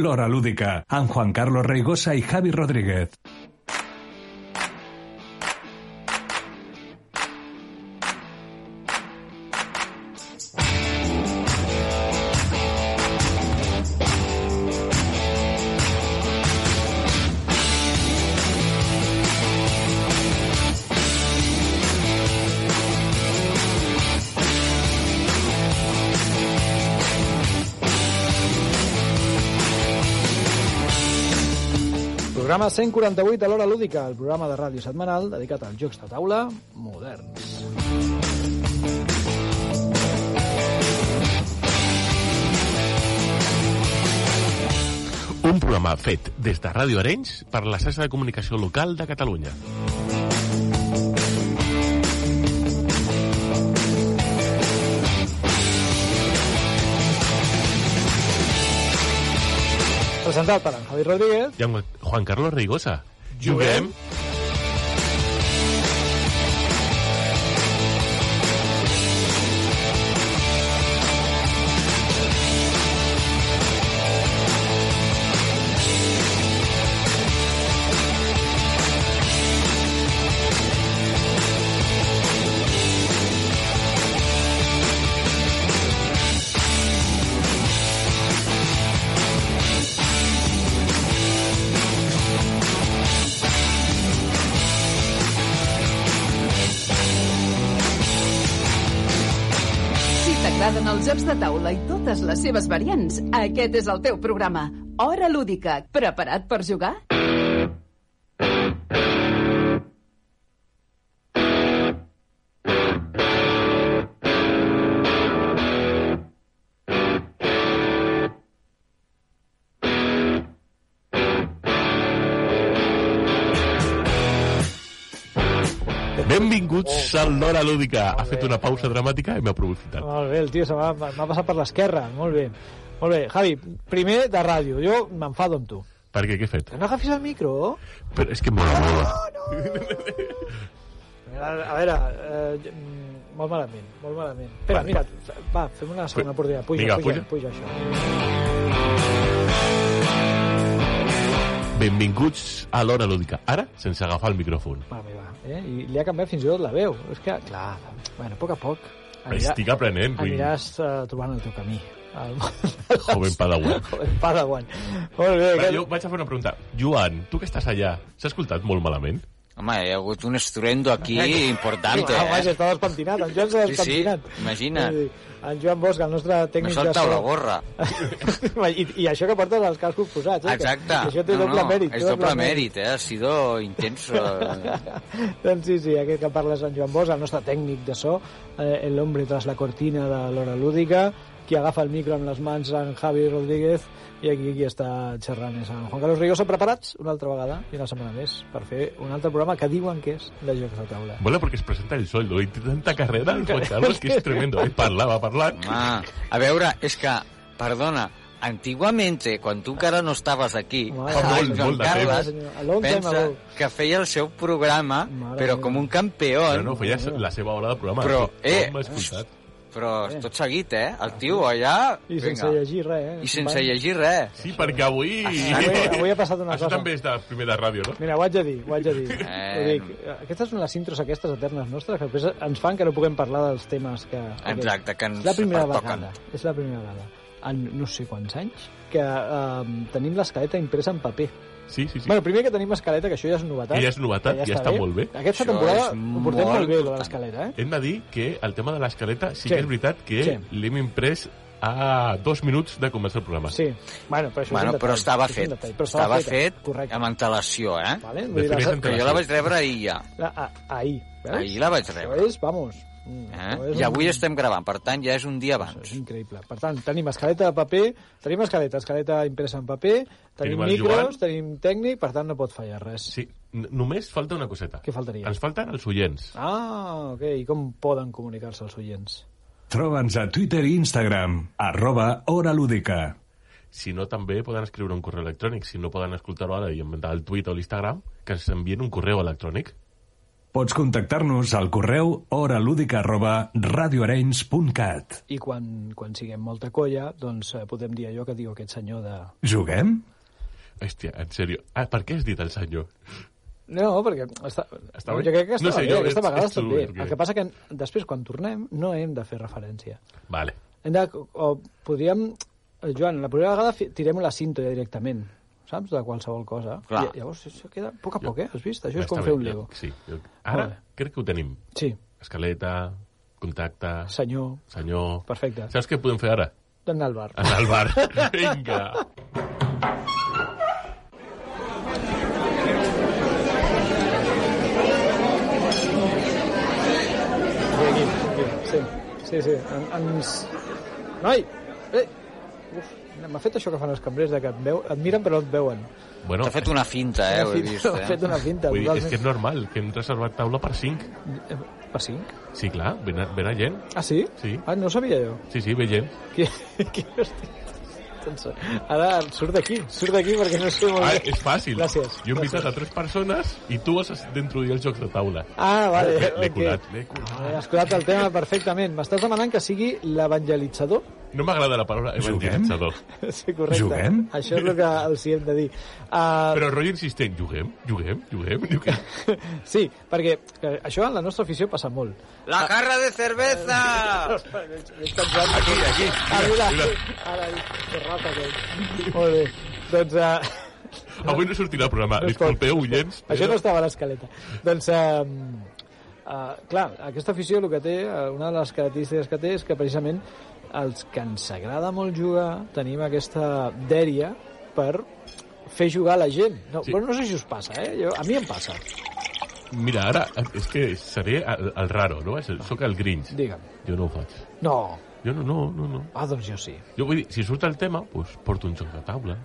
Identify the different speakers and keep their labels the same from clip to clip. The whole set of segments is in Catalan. Speaker 1: Lora Lúdica, amb Juan Carlos Reigosa i Javi Rodríguez.
Speaker 2: Programa 148 a l'Hora Lúdica, el programa de ràdio setmanal dedicat als jocs de taula moderns.
Speaker 3: Un programa fet des de Ràdio Arenys per la xarxa de comunicació local de Catalunya.
Speaker 2: Presentat per en Javi Rodríguez,
Speaker 3: I amb Juan Carlos Rigosa. Juguem!
Speaker 4: Si t'agraden els jocs de taula i totes les seves variants, aquest és el teu programa. Hora lúdica. Preparat per jugar?
Speaker 3: Benvinguts a l'Hora Lúdica. Ha fet una pausa dramàtica i m'ha aprofitat.
Speaker 2: molt bé, el tio se m'ha m'ha passat per l'esquerra, molt bé. Molt bé, Javi, primer de ràdio, jo m'enfado amb tu.
Speaker 3: Per què? Què he fet?
Speaker 2: Que no agafis el micro?
Speaker 3: Però és que mola, mola.
Speaker 2: A, a veure, eh, jo- mm, molt malament, molt malament. Espera, mira, va, fem una segona oportunitat. Puja,
Speaker 3: Vinga,
Speaker 2: puja, puja, això.
Speaker 3: Benvinguts a l'Hora Lúdica. Ara, sense agafar el micròfon.
Speaker 2: Mare meva, eh? I li ha canviat fins i tot la veu. És que, clar, bueno, a poc a poc anirà-
Speaker 3: Estic aprenent, vull dir.
Speaker 2: aniràs eh, trobant el teu camí. El...
Speaker 3: Joven Padawan.
Speaker 2: Joven Padawan. Molt bé,
Speaker 3: Va,
Speaker 2: que...
Speaker 3: jo vaig a fer una pregunta. Joan, tu que estàs allà, s'ha escoltat molt malament?
Speaker 5: Home, hi ha hagut un estruendo aquí importante,
Speaker 2: Ah, vaja,
Speaker 5: eh?
Speaker 2: està despentinat, en Joan s'ha
Speaker 5: Sí, sí,
Speaker 2: despentinat.
Speaker 5: imagina't.
Speaker 2: Sí, En Joan Bosch, el nostre
Speaker 5: Me
Speaker 2: tècnic
Speaker 5: solta
Speaker 2: so.
Speaker 5: la gorra.
Speaker 2: I, I això que portes els cascos posats, eh? que-
Speaker 5: Exacte.
Speaker 2: que Això té doble mèrit.
Speaker 5: es
Speaker 2: té
Speaker 5: doble mèrit, eh? Ha sido intenso. eh?
Speaker 2: doncs sí, sí, aquest que parla és en Joan Bosch, el nostre tècnic de so, eh, l'hombre tras la cortina de l'hora lúdica, qui agafa el micro amb les mans en Javi Rodríguez i aquí qui està xerrant és en Juan Carlos Rigosa. Preparats una altra vegada i una setmana més per fer un altre programa que diuen que és de Jocs de Taula.
Speaker 3: Mola porque se presenta el sueldo y tanta carrera el Juan Carlos que es tremendo. eh? Y parlaba, parlaba.
Speaker 5: Ah, a veure, és que, perdona, antiguamente, quan tu encara no estaves aquí,
Speaker 2: Mare
Speaker 5: el
Speaker 2: meva.
Speaker 5: Joan
Speaker 3: Molt de
Speaker 5: Carles
Speaker 2: temps. A long time
Speaker 5: pensa
Speaker 2: ago.
Speaker 5: que feia el seu programa,
Speaker 2: Mare
Speaker 5: però
Speaker 2: meva.
Speaker 5: com un campió,
Speaker 3: No, no, fue ya la seva hora de programa.
Speaker 5: Però, eh,
Speaker 3: m'ha escoltat.
Speaker 5: però tot seguit, eh? El tio allà...
Speaker 2: I sense
Speaker 5: vinga.
Speaker 2: llegir res, eh?
Speaker 5: I sense
Speaker 2: company?
Speaker 5: llegir res.
Speaker 3: Sí, perquè avui...
Speaker 2: Ah, Avui- avui ha passat una
Speaker 3: Això
Speaker 2: cosa.
Speaker 3: també és de primera ràdio, no?
Speaker 2: Mira, ho haig de dir, ho haig de dir.
Speaker 5: Eh.
Speaker 2: Ho dic, aquestes són les intros aquestes eternes nostres que després ens fan que no puguem parlar dels temes que...
Speaker 5: Exacte, que ens
Speaker 2: És la primera
Speaker 5: pertoquen.
Speaker 2: vegada, és la primera vegada, en no sé quants anys, que eh, tenim l'escaleta impresa en paper.
Speaker 3: Sí, sí,
Speaker 2: Sí.
Speaker 3: sí.
Speaker 2: Bueno, primer que tenim escaleta, que això ja és novetat.
Speaker 3: Que ja és novetat, ja està molt bé.
Speaker 2: Aquesta
Speaker 5: Això
Speaker 2: temporada
Speaker 5: és
Speaker 2: ho portem
Speaker 5: molt
Speaker 2: molt bé, lo de
Speaker 5: important.
Speaker 2: l'escaleta, eh?
Speaker 3: Hem de dir que el tema de l'escaleta sí,
Speaker 2: Sí.
Speaker 3: que és veritat que
Speaker 2: Sí.
Speaker 3: l'hem imprès a dos minuts de començar el programa.
Speaker 2: Sí. Bueno, però, això és un
Speaker 5: Bueno,
Speaker 2: detall,
Speaker 5: però estava
Speaker 2: això és un
Speaker 5: fet.
Speaker 2: detall, però
Speaker 5: Estava fet
Speaker 2: Correcte.
Speaker 5: amb antelació, eh?
Speaker 2: Vale?
Speaker 3: De
Speaker 2: Vull dir,
Speaker 3: primers
Speaker 2: la-
Speaker 3: entre-
Speaker 5: Que jo la vaig rebre ahir ja.
Speaker 2: la, a, ahir. Veus?
Speaker 5: Ahir la vaig
Speaker 2: Això
Speaker 5: rebre.
Speaker 2: és, vamos... mm,
Speaker 5: Eh?
Speaker 2: això és
Speaker 5: I
Speaker 2: un-
Speaker 5: avui estem gravant, per tant ja és un dia
Speaker 2: És
Speaker 5: abans.
Speaker 2: increïble. Per tant, tenim escaleta de paper, tenim escaleta, escaleta impresa en paper, tenim,
Speaker 3: Tenim el
Speaker 2: micros,
Speaker 3: Joan.
Speaker 2: tenim tècnic, per tant no pot fallar res.
Speaker 3: sí. N- Només falta una coseta.
Speaker 2: Què faltaria?
Speaker 3: Ens falten els oients.
Speaker 2: Ah, ok. I com poden comunicar-se els oients?
Speaker 1: Troba'ns a Twitter i Instagram, arroba Hora Lúdica.
Speaker 3: Si no, també poden escriure un correu electrònic. Si no poden escoltar-ho ara i inventar el tuit o l'Instagram, que ens envien un correu electrònic.
Speaker 1: Pots contactar-nos al correu horalúdica arroba radioarenys.cat.
Speaker 2: I quan, quan siguem molta colla, doncs eh, podem dir allò que diu aquest senyor de...
Speaker 1: Juguem?
Speaker 3: Hòstia, en sèrio. Ah, per què has dit el senyor?
Speaker 2: No, perquè està,
Speaker 3: Està
Speaker 2: jo
Speaker 3: bé?
Speaker 2: crec que
Speaker 3: No
Speaker 2: estava
Speaker 3: sé,
Speaker 2: bé,
Speaker 3: jo-
Speaker 2: aquesta vegada
Speaker 3: ets- ets
Speaker 2: està
Speaker 3: tu, eh,
Speaker 2: bé.
Speaker 3: perquè-
Speaker 2: El que passa que després, quan tornem, no hem de fer referència.
Speaker 3: Vale.
Speaker 2: Hem de, o podríem... eh, Joan, la primera vegada fi- tirem la cinta ja directament, saps? De qualsevol cosa.
Speaker 5: Clar.
Speaker 2: I, llavors això queda a poc a poc, eh? Has vist? Això
Speaker 3: Ja
Speaker 2: és com
Speaker 3: està
Speaker 2: fer
Speaker 3: bé,
Speaker 2: un
Speaker 3: jo-
Speaker 2: lego.
Speaker 3: Sí. jo- Ara
Speaker 2: Molt
Speaker 3: crec que ho tenim.
Speaker 2: Sí,
Speaker 3: Escaleta, contacte,
Speaker 2: senyor,
Speaker 3: senyor...
Speaker 2: perfecte.
Speaker 3: Saps què podem fer ara?
Speaker 2: D'anar al bar.
Speaker 3: Anar al bar. Vinga.
Speaker 2: Aquí, aquí, aquí. Sí, sí, sí. En, ens... Noi! Eh! Uf, m'ha fet això que fan els cambrers, de que et, veu, et miren però no et veuen.
Speaker 3: Bueno,
Speaker 5: T'ha fet una finta, eh, ho he vist.
Speaker 2: M'ha fet
Speaker 5: Eh?
Speaker 2: una pinta.
Speaker 3: vull dir, és que
Speaker 2: totalment.
Speaker 3: és normal, que hem reservat taula per 5.
Speaker 2: Eh, Per cinc?
Speaker 3: Sí, clar, ve, ve gent.
Speaker 2: Ah, sí?
Speaker 3: Sí.
Speaker 2: Ah, no ho sabia jo.
Speaker 3: Sí, sí, ve gent.
Speaker 2: Que, que hosti, doncs, ara surt d'aquí, surt d'aquí perquè no sé molt
Speaker 3: Ah,
Speaker 2: bé.
Speaker 3: és fàcil.
Speaker 2: Gràcies.
Speaker 3: Jo he invitat a tres persones i tu has d'introduir els jocs de taula.
Speaker 2: Ah, vale.
Speaker 3: L'he l'he
Speaker 2: ok.
Speaker 3: colat, l'he
Speaker 2: Eh,
Speaker 3: colat.
Speaker 2: Has colat el tema perfectament. M'estàs demanant que sigui l'evangelitzador?
Speaker 3: No m'agrada la paraula
Speaker 1: Juguem?
Speaker 3: evangelitzador.
Speaker 2: Sí, correcte.
Speaker 1: Juguem?
Speaker 2: Això és el que els hi hem de dir. Uh,
Speaker 3: Però rotllo insistent, juguem, juguem, juguem, juguem.
Speaker 2: Sí, perquè eh, això en la nostra afició passa molt.
Speaker 5: La jarra de cervesa!
Speaker 3: Ah, Aquí, aquí.
Speaker 2: Mira,
Speaker 3: Mira, mira.
Speaker 2: Ara, que rata, que... Molt bé. Doncs... Uh,
Speaker 3: Avui no sortirà el programa.
Speaker 2: No es pot.
Speaker 3: Disculpeu, oients.
Speaker 2: Això
Speaker 3: però-
Speaker 2: no estava a l'escaleta. Doncs, eh, eh, clar, aquesta afició el que té, eh, una de les característiques que té és que precisament els que ens agrada molt jugar tenim aquesta dèria per fer jugar la gent. No,
Speaker 3: Sí.
Speaker 2: sí. Però no sé si us passa, eh? Jo, a mi em passa.
Speaker 3: Mira, ara, eh, és que seré el, el raro, no? És el- Sóc el Grinch.
Speaker 2: Digue'm.
Speaker 3: Jo no ho faig.
Speaker 2: No.
Speaker 3: Jo no, no, no, no.
Speaker 2: Ah, doncs jo sí.
Speaker 3: Jo vull dir, si surt el tema, doncs porto un joc de taula.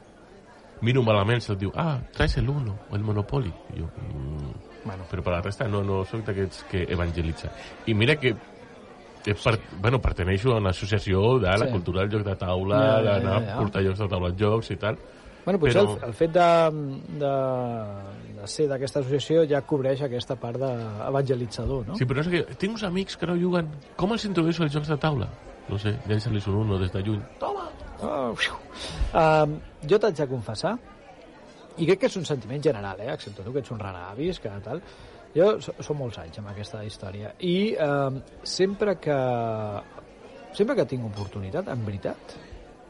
Speaker 3: Miro malament, se'l diu, ah, traes el Uno o el Monopoly. I jo, mm,
Speaker 2: Bueno,
Speaker 3: però per la resta no, no sóc d'aquests que evangelitza. I mira que eh, per, bueno, perteneixo a una associació de la
Speaker 2: Sí.
Speaker 3: cultura del joc de taula,
Speaker 2: Ja, ja, ja,
Speaker 3: d'anar
Speaker 2: ja.
Speaker 3: a portar jocs de taula en jocs i tal.
Speaker 2: bueno potser
Speaker 3: però-
Speaker 2: però... el, el fet de, de, de ser d'aquesta associació ja cobreix aquesta part d'evangelitzador, no?
Speaker 3: Sí, però és que tinc uns amics que no juguen. Com els introdueixo als jocs de taula? No sé, llença-los un Uno des de lluny. Toma!
Speaker 2: Oh, fiu. Ehm, jo t'haig de confessar, i crec que és un sentiment general, eh? excepte tu que ets un renavis, que tal... Jo so- som molts anys amb aquesta història i ehm, sempre que sempre que tinc oportunitat, en veritat,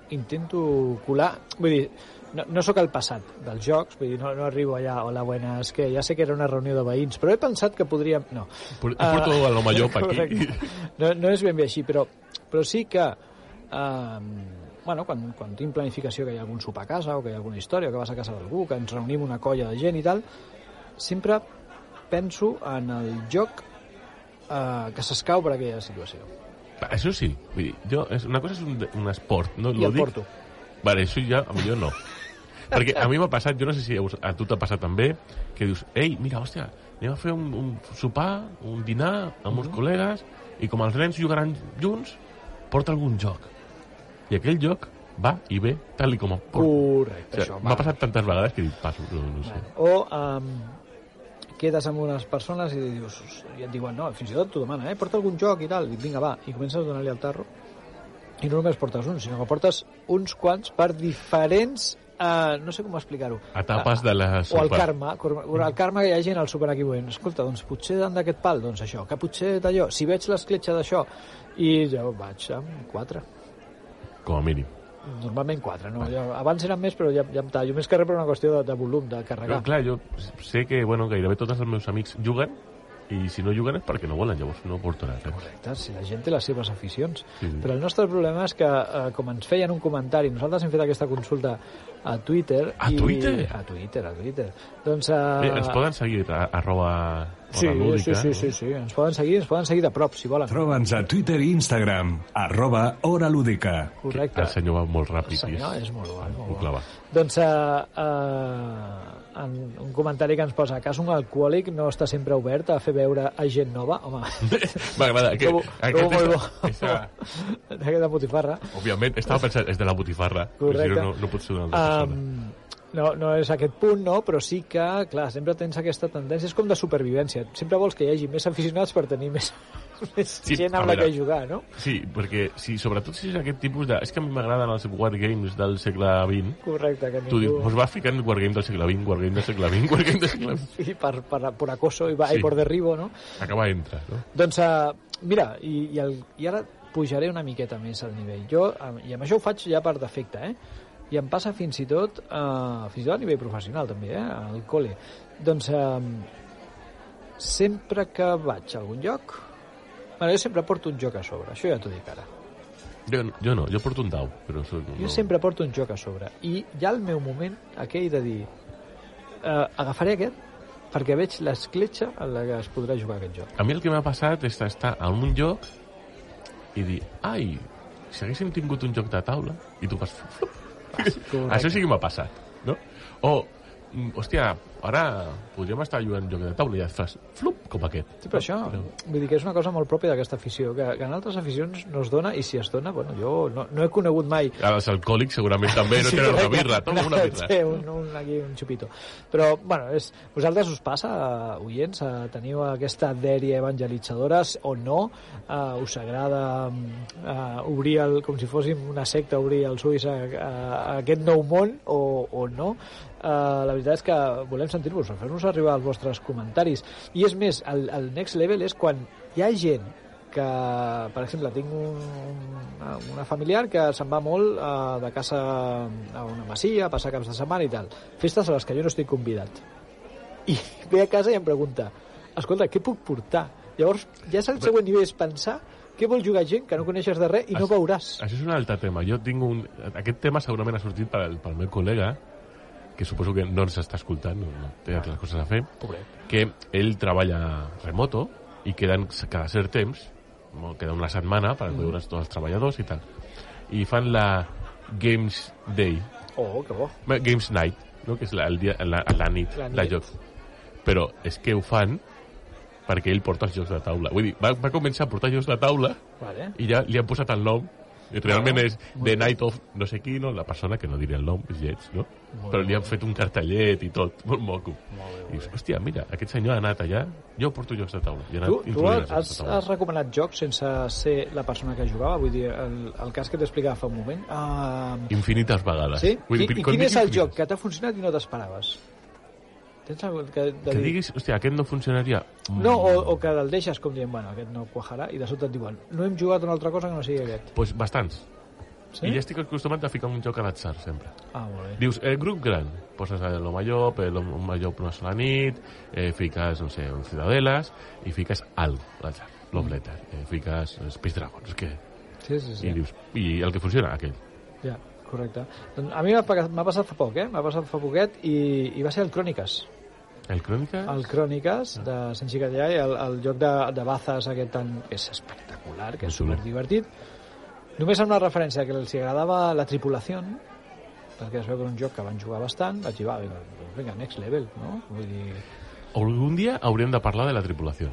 Speaker 2: intento colar... Vull dir, no, no sóc el passat dels jocs, vull dir, no, no arribo allà, hola, buenas, que ja sé que era una reunió de veïns, però he pensat que podríem... No.
Speaker 3: Por-
Speaker 2: Ah,
Speaker 3: porto a lo millor per aquí.
Speaker 2: correcte. No, no és ben bé així, però, però sí que... Eh, bueno, quan, quan tinc planificació que hi ha algun sopar a casa o que hi ha alguna història o que vas a casa d'algú, que ens reunim una colla de gent i tal, sempre penso en el joc eh, que s'escau per aquella situació.
Speaker 3: Això sí, vull dir, jo, és, una cosa és un, un esport, no?
Speaker 2: I el porto.
Speaker 3: Vale, això ja, a millor no. Perquè a mi m'ha passat, jo no sé si a vos- a tu t'ha passat també, que dius, ei, mira, hòstia, anem a fer un, un sopar, un dinar amb uns col·legues, i com els nens jugaran junts, porta algun joc. I aquell joc va i ve tal i com em porto.
Speaker 2: Correcte,
Speaker 3: O
Speaker 2: Uh,
Speaker 3: sigui,
Speaker 2: això.
Speaker 3: M'ha
Speaker 2: va.
Speaker 3: passat tantes vegades que dic, passo, no, no sé.
Speaker 2: O um, quedes amb unes persones i dius, i et diuen, no, fins i tot t'ho demanen, eh, porta algun joc i tal, i dic, vinga, va, i comences a donar-li el tarro. I no només portes un, sinó que portes uns quants per diferents, eh, no sé com explicar-ho.
Speaker 3: Etapes de la
Speaker 2: O el
Speaker 3: sopa.
Speaker 2: karma, cor- el karma que hi ha gent al súper aquí veient, escolta, doncs potser dan d'aquest pal, doncs això, que potser d'allò, si veig l'escletxa d'això, i jo vaig amb quatre.
Speaker 3: Com a mínim.
Speaker 2: Normalment quatre, no? Jo, abans eren més, però ja, ja em tallo. Més que res per una qüestió de, de volum, de carregar.
Speaker 3: Però, clar, jo sé que, bueno, gairebé tots els meus amics juguen, i si no juguen és perquè no volen, llavors no porto res. eh?
Speaker 2: Clar, si la gent té les seves aficions.
Speaker 3: Sí, sí.
Speaker 2: Però el nostre problema és que, eh, com ens feien un comentari, nosaltres hem fet aquesta consulta a Twitter.
Speaker 3: A Twitter?
Speaker 2: A Twitter, a Twitter. Doncs...
Speaker 3: Bé, ens
Speaker 2: Eh,
Speaker 3: poden seguir a arroba
Speaker 2: sí,
Speaker 3: hora lúdica, eh?
Speaker 2: sí, sí,
Speaker 3: no?
Speaker 2: sí, sí, ens poden seguir, ens poden seguir de prop, si volen.
Speaker 1: Troba'ns a Twitter i Instagram, arroba horalúdica.
Speaker 2: Correcte.
Speaker 3: El senyor va molt ràpid.
Speaker 2: El senyor
Speaker 3: i
Speaker 2: és molt bo, és molt
Speaker 3: Ho
Speaker 2: bo.
Speaker 3: clava.
Speaker 2: Doncs eh, eh, en un comentari que ens posa que un alcohòlic no està sempre obert a fer veure a gent nova, home,
Speaker 3: M'agrada. Que,
Speaker 2: trobo, trobo
Speaker 3: és-
Speaker 2: molt bo.
Speaker 3: és-
Speaker 2: Aquesta botifarra.
Speaker 3: òbviament, estava pensant, és de la botifarra.
Speaker 2: Correcte.
Speaker 3: Si no, no, no pot ser una altra persona.
Speaker 2: Um, No, no és aquest punt, no, però sí que, clar, sempre tens aquesta tendència, és com de supervivència. Sempre vols que hi hagi més aficionats per tenir més, més
Speaker 3: Sí,
Speaker 2: gent
Speaker 3: a
Speaker 2: amb la que
Speaker 3: veure.
Speaker 2: jugar, no?
Speaker 3: Sí, perquè si, sobretot si és aquest tipus de... És que a mi m'agraden els wargames del segle XX.
Speaker 2: Correcte, que
Speaker 3: Tu dius,
Speaker 2: ningú...
Speaker 3: doncs va ficant wargame del segle XX, wargame del segle XX, wargame del segle XX.
Speaker 2: I per, per, por acoso i, va,
Speaker 3: Sí.
Speaker 2: i por derribo, no?
Speaker 3: Acaba d'entrar, no?
Speaker 2: Doncs, uh, mira, i, i, el, i ara pujaré una miqueta més al nivell. Jo, eh, i amb això ho faig ja per defecte, eh? I em passa fins i tot, uh, fins i tot a nivell professional, també, eh? Al col·le. Doncs, uh, sempre que vaig a algun lloc... Bueno, jo sempre porto un joc a sobre, això ja t'ho dic ara.
Speaker 3: Jo, no- jo no, jo porto un dau, però això no...
Speaker 2: Jo sempre porto un joc a sobre. I hi ha el meu moment aquell de dir... Uh, agafaré aquest perquè veig l'escletxa en la que es podrà jugar aquest joc.
Speaker 3: A mi el que m'ha passat és estar en un lloc i dir, ai, si haguéssim tingut un joc de taula, i tu fas... flup, flup.
Speaker 2: correcte.
Speaker 3: Això sí que m'ha passat, no? O, mm, hòstia, ara podríem estar jugant un joc de taula i et fas flup, com aquest.
Speaker 2: Sí, però això, vull dir que és una cosa molt pròpia d'aquesta afició, que, que en altres aficions no es dona, i si es dona, bueno, jo no, no he conegut mai...
Speaker 3: Ara els alcohòlics segurament també no tenen una birra, toma una birra.
Speaker 2: Sí, un, un, aquí un xupito. Però, bueno, és, vosaltres us passa, uh, oients, uh, teniu aquesta dèria evangelitzadora s- o no? Uh, us agrada uh, obrir, el, com si fóssim una secta, obrir els ulls a, a, a aquest nou món o, o no? Uh, la veritat és que volem sentir-vos, fer-nos arribar els vostres comentaris. I és més, el, el next level és quan hi ha gent que, per exemple, tinc un, una, una familiar que se'n va molt eh, de casa a una masia, a passar caps de setmana i tal. Festes a les que jo no estic convidat. I ve a casa i em pregunta, escolta, què puc portar? Llavors, ja és el següent nivell, és pensar què vol jugar gent que no coneixes de res i no
Speaker 3: Això-
Speaker 2: veuràs.
Speaker 3: Això és un altre tema. Jo tinc un... Aquest tema segurament ha sortit pel, pel meu col·lega, que suposo que no ens està escoltant, no, no té altres coses a fer,
Speaker 2: Pobret.
Speaker 3: que ell treballa remoto i queden cada cert temps, no, queda una setmana per veure's tots els treballadors i tal. I fan la Games Day,
Speaker 2: Oh, que bo.
Speaker 3: Bé, Games Night, no? que és la, el dia, la, la nit
Speaker 2: La
Speaker 3: la
Speaker 2: nit.
Speaker 3: de jocs. Però és que ho fan perquè ell porta els jocs de taula. Vull dir, va, va començar a portar jocs de taula
Speaker 2: Vale.
Speaker 3: i ja li han posat el nom i realment
Speaker 2: Ah,
Speaker 3: és The Night of no sé qui, no? la persona que no diria el nom, és lleig, no? Però li han fet un cartellet i tot, molt moco. I dius, hòstia, mira, aquest senyor ha anat allà, jo porto jocs de taula. I ha anat
Speaker 2: Tu, tu
Speaker 3: introduint els jocs
Speaker 2: has,
Speaker 3: de taula.
Speaker 2: has recomanat jocs sense ser la persona que jugava? Vull dir, el, el cas que t'explicava fa un moment... Ah,
Speaker 3: Infinites vegades.
Speaker 2: Sí?
Speaker 3: Vull dir,
Speaker 2: Qui, I
Speaker 3: quan
Speaker 2: quin
Speaker 3: dic
Speaker 2: és el
Speaker 3: infinites-
Speaker 2: joc que t'ha funcionat i no t'esperaves? Tens algú que, de
Speaker 3: Que
Speaker 2: dir-
Speaker 3: diguis, hòstia, aquest no funcionaria.
Speaker 2: No, o, o que el deixes com dient, bueno, aquest no cuajarà, i de sobte et diuen, no hem jugat una altra cosa que no sigui aquest.
Speaker 3: Pues bastants.
Speaker 2: Sí?
Speaker 3: Sí? I ja estic acostumat a ficar un joc a l'atzar, sempre.
Speaker 2: Ah, molt bé.
Speaker 3: Dius, eh, grup gran, poses el major, el major per una sola nit, eh, fiques, no sé, un Ciudadelas, i fiques algo a l'atzar,
Speaker 2: Mm.
Speaker 3: Love Letter, eh, fiques Space Dragons, és que...
Speaker 2: Sí, sí,
Speaker 3: Sí. I
Speaker 2: sí.
Speaker 3: dius, i el que funciona, aquell.
Speaker 2: Ja, correcte. Doncs a mi m'ha pa- m'ha passat fa poc, eh? M'ha passat fa poquet i, i va ser el Cròniques.
Speaker 3: El Crònica...
Speaker 2: El Cròniques de Sanxi Catllà i el, el joc de, de Bazas aquest tan... és espectacular, que és
Speaker 3: Molt xulo.
Speaker 2: superdivertit. Només amb una referència que els agradava la tripulació, perquè es veu que era un joc que van jugar bastant, vaig dir, va, vinga, doncs vinga, next level, no? Vull dir...
Speaker 3: Algun dia hauríem de parlar de la tripulació.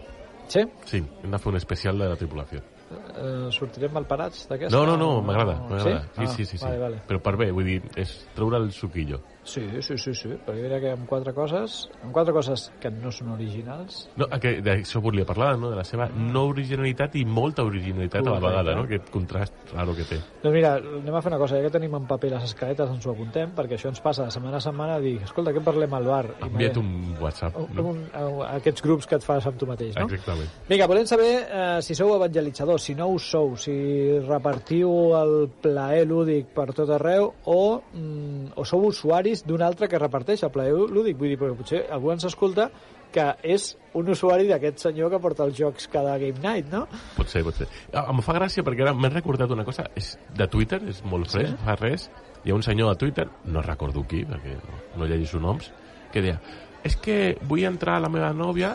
Speaker 2: Sí,
Speaker 3: Sí, hem de fer un especial de la tripulació.
Speaker 2: eh, sortirem malparats d'aquesta?
Speaker 3: No, no, no, m'agrada, m'agrada. Sí?
Speaker 2: Ah,
Speaker 3: sí, sí, sí, sí.
Speaker 2: Vale, vale.
Speaker 3: Però per bé, vull dir, és treure el suquillo.
Speaker 2: Sí, sí, sí, sí, perquè jo crec que amb quatre coses, amb quatre coses que no són originals,
Speaker 3: No, a que d'això volia parlar, no? de la seva no originalitat i molta originalitat a la
Speaker 2: Correcte.
Speaker 3: vegada, no? aquest contrast raro que té.
Speaker 2: Doncs mira, anem a fer una cosa, ja que tenim en paper les escaletes, ens ho apuntem, perquè això ens passa de setmana a setmana a dir, escolta, què parlem al bar? I
Speaker 3: Envia't
Speaker 2: me-
Speaker 3: un WhatsApp.
Speaker 2: Oh, un,
Speaker 3: No?
Speaker 2: un, a- aquests grups que et fas amb tu mateix, no?
Speaker 3: Exactament.
Speaker 2: Vinga, volem saber eh, si sou evangelitzadors, si no ho sou, si repartiu el plaer lúdic per tot arreu o, mm, o sou usuaris d'un altre que reparteix el plaer lúdic. Vull dir, perquè potser algú ens escolta que és un usuari d'aquest senyor que porta els jocs cada game night, no?
Speaker 3: Pot ser, pot ser. Ah, em fa gràcia perquè ara m'he recordat una cosa. És de Twitter, és molt fresc, sí? fa res. Hi ha un senyor a Twitter, no recordo qui, perquè no, no llegeixo noms, que deia és que vull entrar a la meva nòvia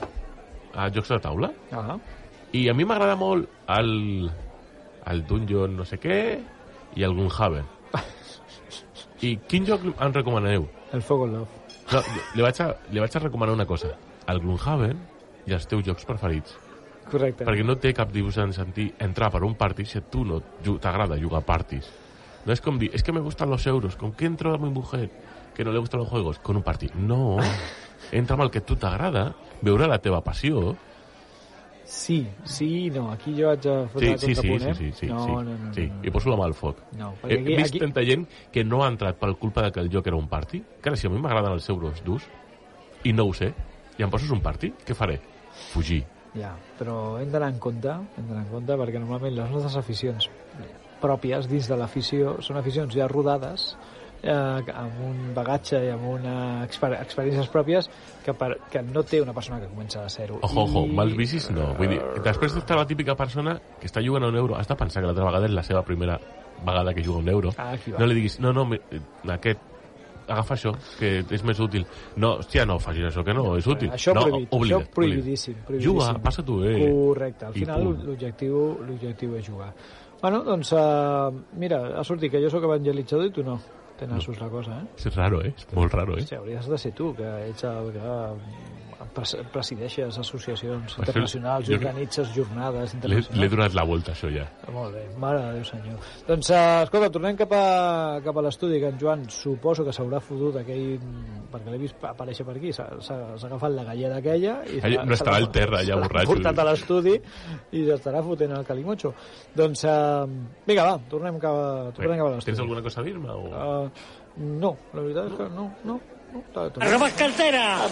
Speaker 3: a jocs de taula
Speaker 2: Ah,
Speaker 3: i a mi m'agrada molt el, el Dungeon no sé què i el Gloomhaven. I quin joc em recomaneu?
Speaker 2: el Fogo Love.
Speaker 3: No, li, vaig a, li vaig a recomanar una cosa. El Gloomhaven i els teus jocs preferits.
Speaker 2: Correcte.
Speaker 3: Perquè no té cap dius en sentir entrar per un party si a tu no ju- t'agrada jugar a parties. No és com dir, és que me gustan los euros, com que entro a mi mujer? que no le gustan los juegos con un party. No. Entra amb el que a tu t'agrada, veure la teva passió.
Speaker 2: Sí, sí i no. Aquí jo haig de
Speaker 3: Sí,
Speaker 2: fotre
Speaker 3: sí,
Speaker 2: el
Speaker 3: sí,
Speaker 2: contrapunt,
Speaker 3: sí,
Speaker 2: eh?
Speaker 3: sí, sí,
Speaker 2: no,
Speaker 3: sí,
Speaker 2: No, no,
Speaker 3: sí.
Speaker 2: no, no.
Speaker 3: I poso la mà al foc.
Speaker 2: No, perquè
Speaker 3: He, he
Speaker 2: aquí-
Speaker 3: vist
Speaker 2: aquí-
Speaker 3: tanta gent que no ha entrat per culpa de que el joc era un party. Cara, si a mi m'agraden els euros durs, i no ho sé, i em poses un party, què faré? Fugir.
Speaker 2: Ja, però hem d'anar en compte, hem d'anar en compte perquè normalment les nostres aficions pròpies dins de l'afició són aficions ja rodades eh, amb un bagatge i amb una exper experiències pròpies que, per, que no té una persona que comença de zero.
Speaker 3: Ojo, ojo,
Speaker 2: I- eh,
Speaker 3: mals vicis no. Vull dir, després està la típica persona que està jugant a un euro, has de pensar que l'altra vegada és la seva primera vegada que juga a un euro.
Speaker 2: Ah, aquí va.
Speaker 3: no li diguis, no, no, mi- eh, aquest, agafa això, que és més útil. No, hòstia, no, facis això, que no, és útil.
Speaker 2: Eh, Això
Speaker 3: no,
Speaker 2: prohibit,
Speaker 3: oblida't,
Speaker 2: això prohibidíssim,
Speaker 3: oblida't.
Speaker 2: prohibidíssim.
Speaker 3: Juga, passa tu bé.
Speaker 2: Correcte, al
Speaker 3: I
Speaker 2: final
Speaker 3: punt.
Speaker 2: l'objectiu l'objectiu és jugar. Bueno, doncs, uh, mira, ha sortit que jo sóc evangelitzador i tu no. Tenassos la cosa, eh?
Speaker 3: És raro, eh? És molt raro, eh?
Speaker 2: Hòstia, hauries de ser tu, que ets el que mm, pres- presideixes associacions internacionals,
Speaker 3: jo crec-
Speaker 2: organitzes jornades
Speaker 3: L'he l'he
Speaker 2: internacionals.
Speaker 3: donat la volta, això, ja.
Speaker 2: Molt bé, mare de Déu senyor. Doncs, eh, escolta, tornem cap a, cap a l'estudi, que en Joan suposo que s'haurà fotut aquell... perquè l'he vist aparèixer per aquí, s'ha s'ha- s'ha agafat la galleda aquella... I
Speaker 3: Allà-
Speaker 2: s'ha-
Speaker 3: no
Speaker 2: se
Speaker 3: estarà
Speaker 2: l'ha-
Speaker 3: al terra, allà,
Speaker 2: se l'ha
Speaker 3: borratxo.
Speaker 2: portat a l'estudi i s'estarà fotent el calimotxo. Doncs, eh, vinga, va, tornem cap a, tornem cap a l'estudi.
Speaker 3: Tens alguna cosa a dir-me? O...
Speaker 2: Eh, no, la veritat és que no, no. no tal, tal.
Speaker 6: ¡Robas cartera!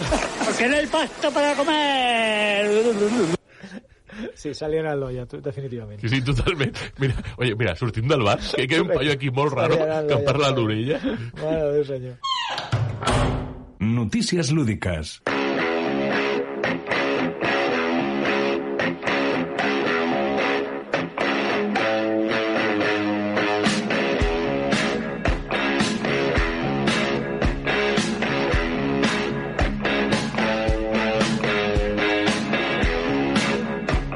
Speaker 6: ¡Porque no hay pasta para comer!
Speaker 2: Sí, s'ha lianat l'olla, tu- definitivament.
Speaker 3: Sí, sí, totalment. Mira, oye, mira, sortim del bar, que hi ha un paio aquí molt raro que em parla a l'orella.
Speaker 2: Mare de Déu, senyor.
Speaker 1: Notícies lúdiques.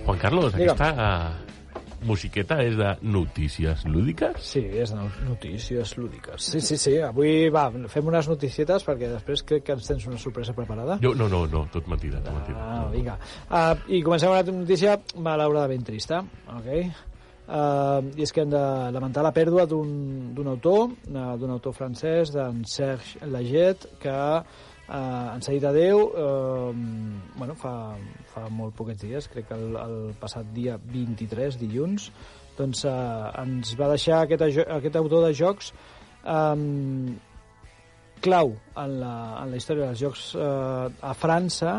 Speaker 3: Juan Carlos,
Speaker 2: Digue'm.
Speaker 3: aquesta eh, musiqueta és de notícies lúdiques?
Speaker 2: Sí, és de notícies lúdiques. Sí, sí, sí, avui va, fem unes noticietes perquè després crec que ens tens una sorpresa preparada.
Speaker 3: Jo, no, no, no, tot mentida, tot mentida.
Speaker 2: Ah, vinga. Uh, I comencem amb una notícia malauradament trista, ok? Uh, i és que hem de lamentar la pèrdua d'un d'un autor, eh, d'un autor francès, d'en Serge Laget, que uh, ens ha dit adeu uh, bueno, fa, fa molt poquets dies, crec que el, el passat dia 23, dilluns, doncs uh, ens va deixar aquest, ajo- aquest autor de jocs um, clau en la, en la història dels jocs eh, a França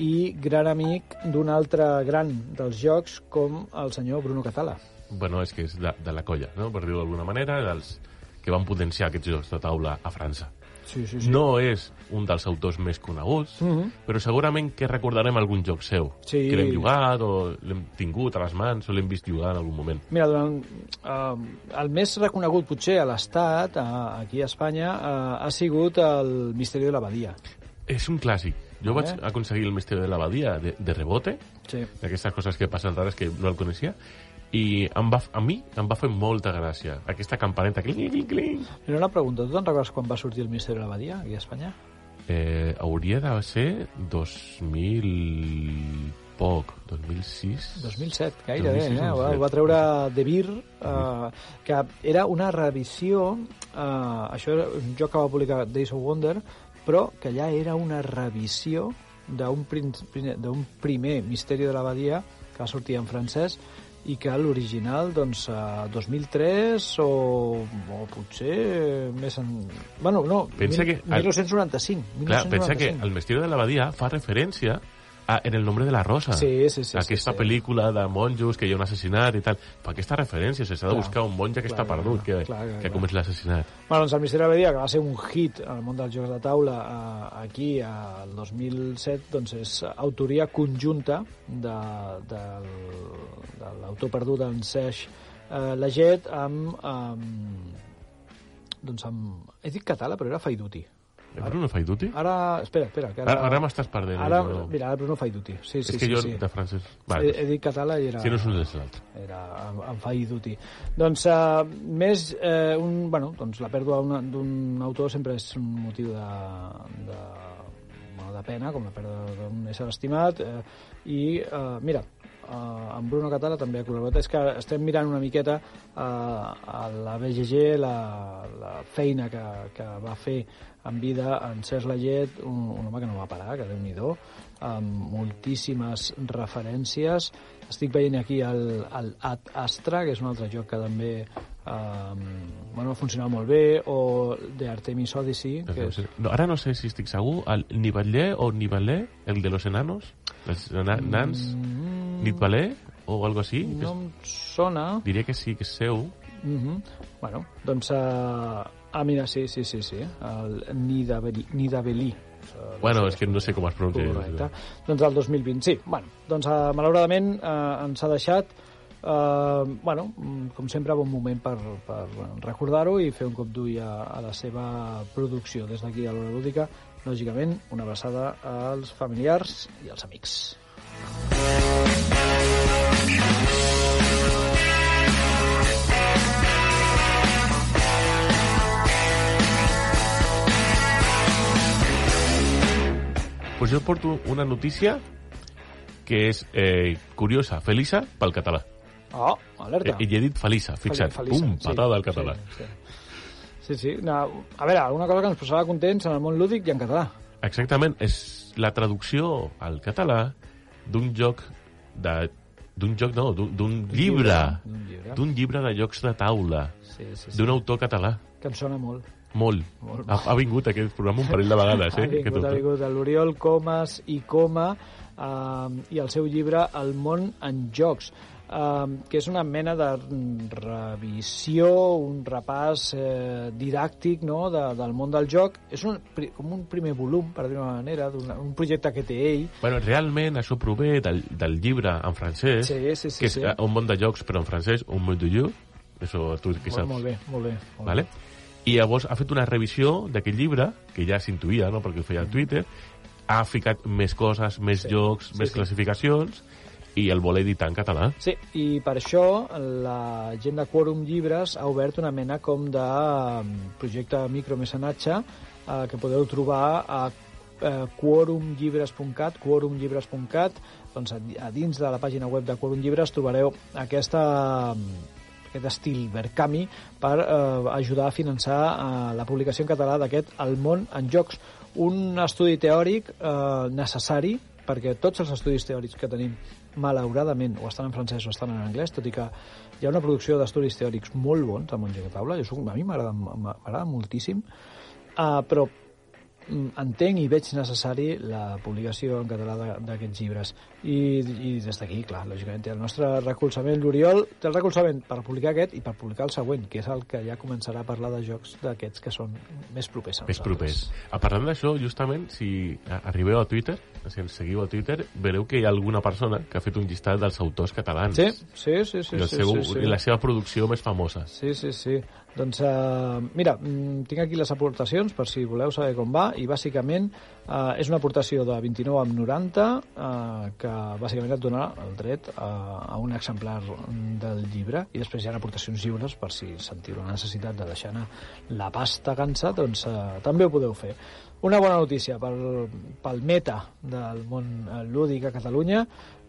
Speaker 2: i gran amic d'un altre gran dels jocs com el senyor Bruno Catala.
Speaker 3: Bueno, és que és de, de la colla, no? per dir-ho d'alguna manera, dels que van potenciar aquests jocs de taula a França.
Speaker 2: Sí, sí,
Speaker 3: No és un dels autors més coneguts,
Speaker 2: Mhm.
Speaker 3: però segurament que recordarem algun joc seu
Speaker 2: Sí.
Speaker 3: que l'hem jugat o l'hem tingut a les mans o l'hem vist jugar en algun moment.
Speaker 2: Mira, durant, eh, el més reconegut potser a l'Estat, a- aquí a Espanya, eh, ha sigut el Misteri de l'abadia.
Speaker 3: És un clàssic. Jo vaig
Speaker 2: Eh?
Speaker 3: aconseguir el Misteri de l'abadia de, de rebote,
Speaker 2: Sí.
Speaker 3: d'aquestes coses que passen rares que no el coneixia, i em va, a mi em va fer molta gràcia aquesta campaneta clink, clink, clink.
Speaker 2: Però una pregunta, tu te'n recordes quan va sortir el Misteri de l'abadia aquí a Espanya?
Speaker 3: Eh, hauria de ser 2000 poc, 2006...
Speaker 2: 2007, gairebé,
Speaker 3: 2006,
Speaker 2: eh? Ho va,
Speaker 3: 2007.
Speaker 2: ho va treure De Vir, eh, que era una revisió, eh, això era un joc que va publicar Days of Wonder, però que ja era una revisió d'un prin- prin- d'un primer Misteri de l'Abadia que va sortir en francès i que l'original, doncs, eh, 2003 o, o potser més en... Bueno, no,
Speaker 3: Pensa
Speaker 2: mil-
Speaker 3: que-
Speaker 2: 1995.
Speaker 3: Clar, pensa que
Speaker 2: 1995.
Speaker 3: el Mestier de l'abadia fa referència a En el nombre de la rosa.
Speaker 2: Sí, sí, sí,
Speaker 3: Aquesta
Speaker 2: sí, sí.
Speaker 3: pel·lícula de monjos, que hi ha un assassinat i tal. Fa aquesta referència, o sigui, s'ha de
Speaker 2: Clar.
Speaker 3: buscar un monja que
Speaker 2: Clar,
Speaker 3: està
Speaker 2: clar,
Speaker 3: perdut, que,
Speaker 2: clar, clar,
Speaker 3: que
Speaker 2: clar.
Speaker 3: ha comès l'assassinat.
Speaker 2: Bueno, doncs el Misteri de la Badia, que va ser un hit al món dels jocs de taula eh, aquí eh, el 2007, doncs és autoria conjunta de, de, de l'autor perdut en Serge eh, Laget amb, amb... Doncs amb... He dit català, però era Faiduti.
Speaker 3: Bruno Faiduti?
Speaker 2: Ara... Espera, espera. Que
Speaker 3: Ara,
Speaker 2: Ah. ara,
Speaker 3: ara m'estàs perdent. eh,
Speaker 2: Ara,
Speaker 3: però-
Speaker 2: mira, ara Bruno Faiduti. Sí, sí,
Speaker 3: és que
Speaker 2: sí,
Speaker 3: jo
Speaker 2: sí. eh,
Speaker 3: de francès... doncs. Va,
Speaker 2: He, he dit català i era...
Speaker 3: si no és un és l'altre.
Speaker 2: era en, en Fai Duty. Doncs uh, més eh, un, bueno, doncs la pèrdua d'una- d'un autor sempre és un motiu de, de, bueno, de pena, com la pèrdua d'un ésser estimat, eh, i eh, mira, eh, amb Bruno Catala també ha col·laborat. És que estem mirant una miqueta eh, a la BGG la, la feina que, que va fer en vida en Cesc Laget, un, un home que no va parar, que déu-n'hi-do, amb moltíssimes referències. Estic veient aquí el, el Ad Astra, que és un altre joc que també um, bueno, va funcionar molt bé, o de Artemis Odyssey, que és,
Speaker 3: No, ara no sé si estic segur, el Nivaler o Nivaler, el de los enanos, els ena- nans, Nivaler o algo així. que
Speaker 2: Mm. no
Speaker 3: és-
Speaker 2: em sona...
Speaker 3: Diria que sí, que és seu.
Speaker 2: Mm Bueno, doncs... Uh, ah, mira, sí, sí, sí, sí. El Nidabelí. Nidabelí.
Speaker 3: Bueno, és que no sé com es pronuncia.
Speaker 2: Correcte. Doncs el 2020, sí. Bueno, doncs uh, malauradament uh, ens ha deixat Uh, bueno, mm, com sempre, bon moment per, per recordar-ho i fer un cop d'ull a, a la seva producció des d'aquí a l'Hora Lúdica. Lògicament, una abraçada als familiars i als amics.
Speaker 3: Pues jo porto una notícia que és eh, curiosa, felissa pel català. Eh,
Speaker 2: Oh, alerta!
Speaker 3: I, I he dit felissa, fixa't.
Speaker 2: Felisa,
Speaker 3: Pum,
Speaker 2: sí,
Speaker 3: patada al català.
Speaker 2: Sí, sí. sí, sí. No, a veure, alguna cosa que ens posava contents en el món lúdic i en català.
Speaker 3: Exactament, és la traducció al català d'un joc de d'un joc, no, d'un- d'un llibre,
Speaker 2: D'un llibre.
Speaker 3: d'un llibre de jocs de taula,
Speaker 2: Sí, sí, sí.
Speaker 3: d'un autor català.
Speaker 2: Que em sona molt.
Speaker 3: Molt.
Speaker 2: Molt.
Speaker 3: Ha, ha vingut aquest programa un parell de vegades, eh?
Speaker 2: ha vingut,
Speaker 3: Aquest
Speaker 2: ha
Speaker 3: autor.
Speaker 2: vingut l'Oriol Comas i Coma eh, i el seu llibre El món en jocs eh, que és una mena de revisió, un repàs eh, didàctic no? de, del món del joc. És un, pri- com un primer volum, per dir-ho d'una manera, d'un un projecte que té ell,
Speaker 3: Bueno, realment això prové del, del llibre en francès,
Speaker 2: Sí, sí, sí,
Speaker 3: que és
Speaker 2: sí.
Speaker 3: eh, Un món de jocs, però en francès, Un món de jeu, això tu que
Speaker 2: Molt,
Speaker 3: saps.
Speaker 2: molt bé, molt bé. Molt
Speaker 3: Vale? I llavors ha fet una revisió d'aquest llibre, que ja s'intuïa, no?, perquè ho feia al Twitter, ha ficat més coses, més sí. jocs, més
Speaker 2: sí.
Speaker 3: classificacions, i el vol editar en català.
Speaker 2: Sí, i per això la gent de Quòrum Llibres ha obert una mena com de mm, projecte micromecenatge eh, que podeu trobar a eh, quorumllibres.cat, quorumllibres.cat, doncs a, di- a dins de la pàgina web de Quòrum Llibres trobareu aquesta, mm, aquest estil Verkami per eh, ajudar a finançar eh, la publicació en català d'aquest El món en jocs, un estudi teòric eh, necessari perquè tots els estudis teòrics que tenim malauradament o estan en francès o estan en anglès, tot i que hi ha una producció d'estudis teòrics molt bons al món joc de taula, jo soc, a mi m'agrada m'agrada moltíssim, uh, però mm, entenc i veig necessari la publicació en català de- d'aquests llibres. I, i des d'aquí, clar, lògicament té el nostre recolzament. L'Oriol té el recolzament per publicar aquest i per publicar el següent, que és el que ja començarà a parlar de jocs d'aquests que són més propers a
Speaker 3: Més
Speaker 2: nosaltres.
Speaker 3: propers. A parlant d'això, justament, si a- arribeu a Twitter, si ens seguiu a Twitter, vereu que hi ha alguna persona que ha fet un llistat dels autors catalans.
Speaker 2: Sí, sí, sí. sí,
Speaker 3: I, el
Speaker 2: sí,
Speaker 3: seu,
Speaker 2: sí, sí.
Speaker 3: I la seva producció més famosa.
Speaker 2: Sí, sí, sí. Doncs uh, mira, mm, tinc aquí les aportacions per si voleu saber com va i bàsicament uh, és una aportació de 29 amb 90 uh, que bàsicament et dona el dret a, a un exemplar mm, del llibre i després hi ha aportacions lliures per si sentiu la necessitat de deixar anar la pasta cansa, doncs uh, també ho podeu fer. Una bona notícia pel, pel meta del món eh, lúdic a Catalunya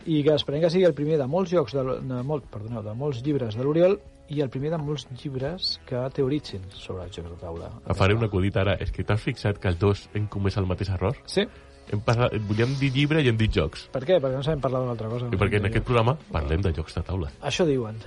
Speaker 2: i que esperem que sigui el primer de molts jocs de, l- de, molt, perdoneu, de molts llibres de l'Oriol i el primer de molts llibres que teoritzin sobre els jocs de taula.
Speaker 3: Em faré una acudit ara. És que t'has fixat que els dos hem comès el mateix error?
Speaker 2: Sí?
Speaker 3: Hem passat, volíem dir llibre i hem dit jocs.
Speaker 2: Per què? Perquè no sabem parlar d'una altra cosa.
Speaker 3: I perquè en aquest programa parlem de jocs de taula.
Speaker 2: Això diuen.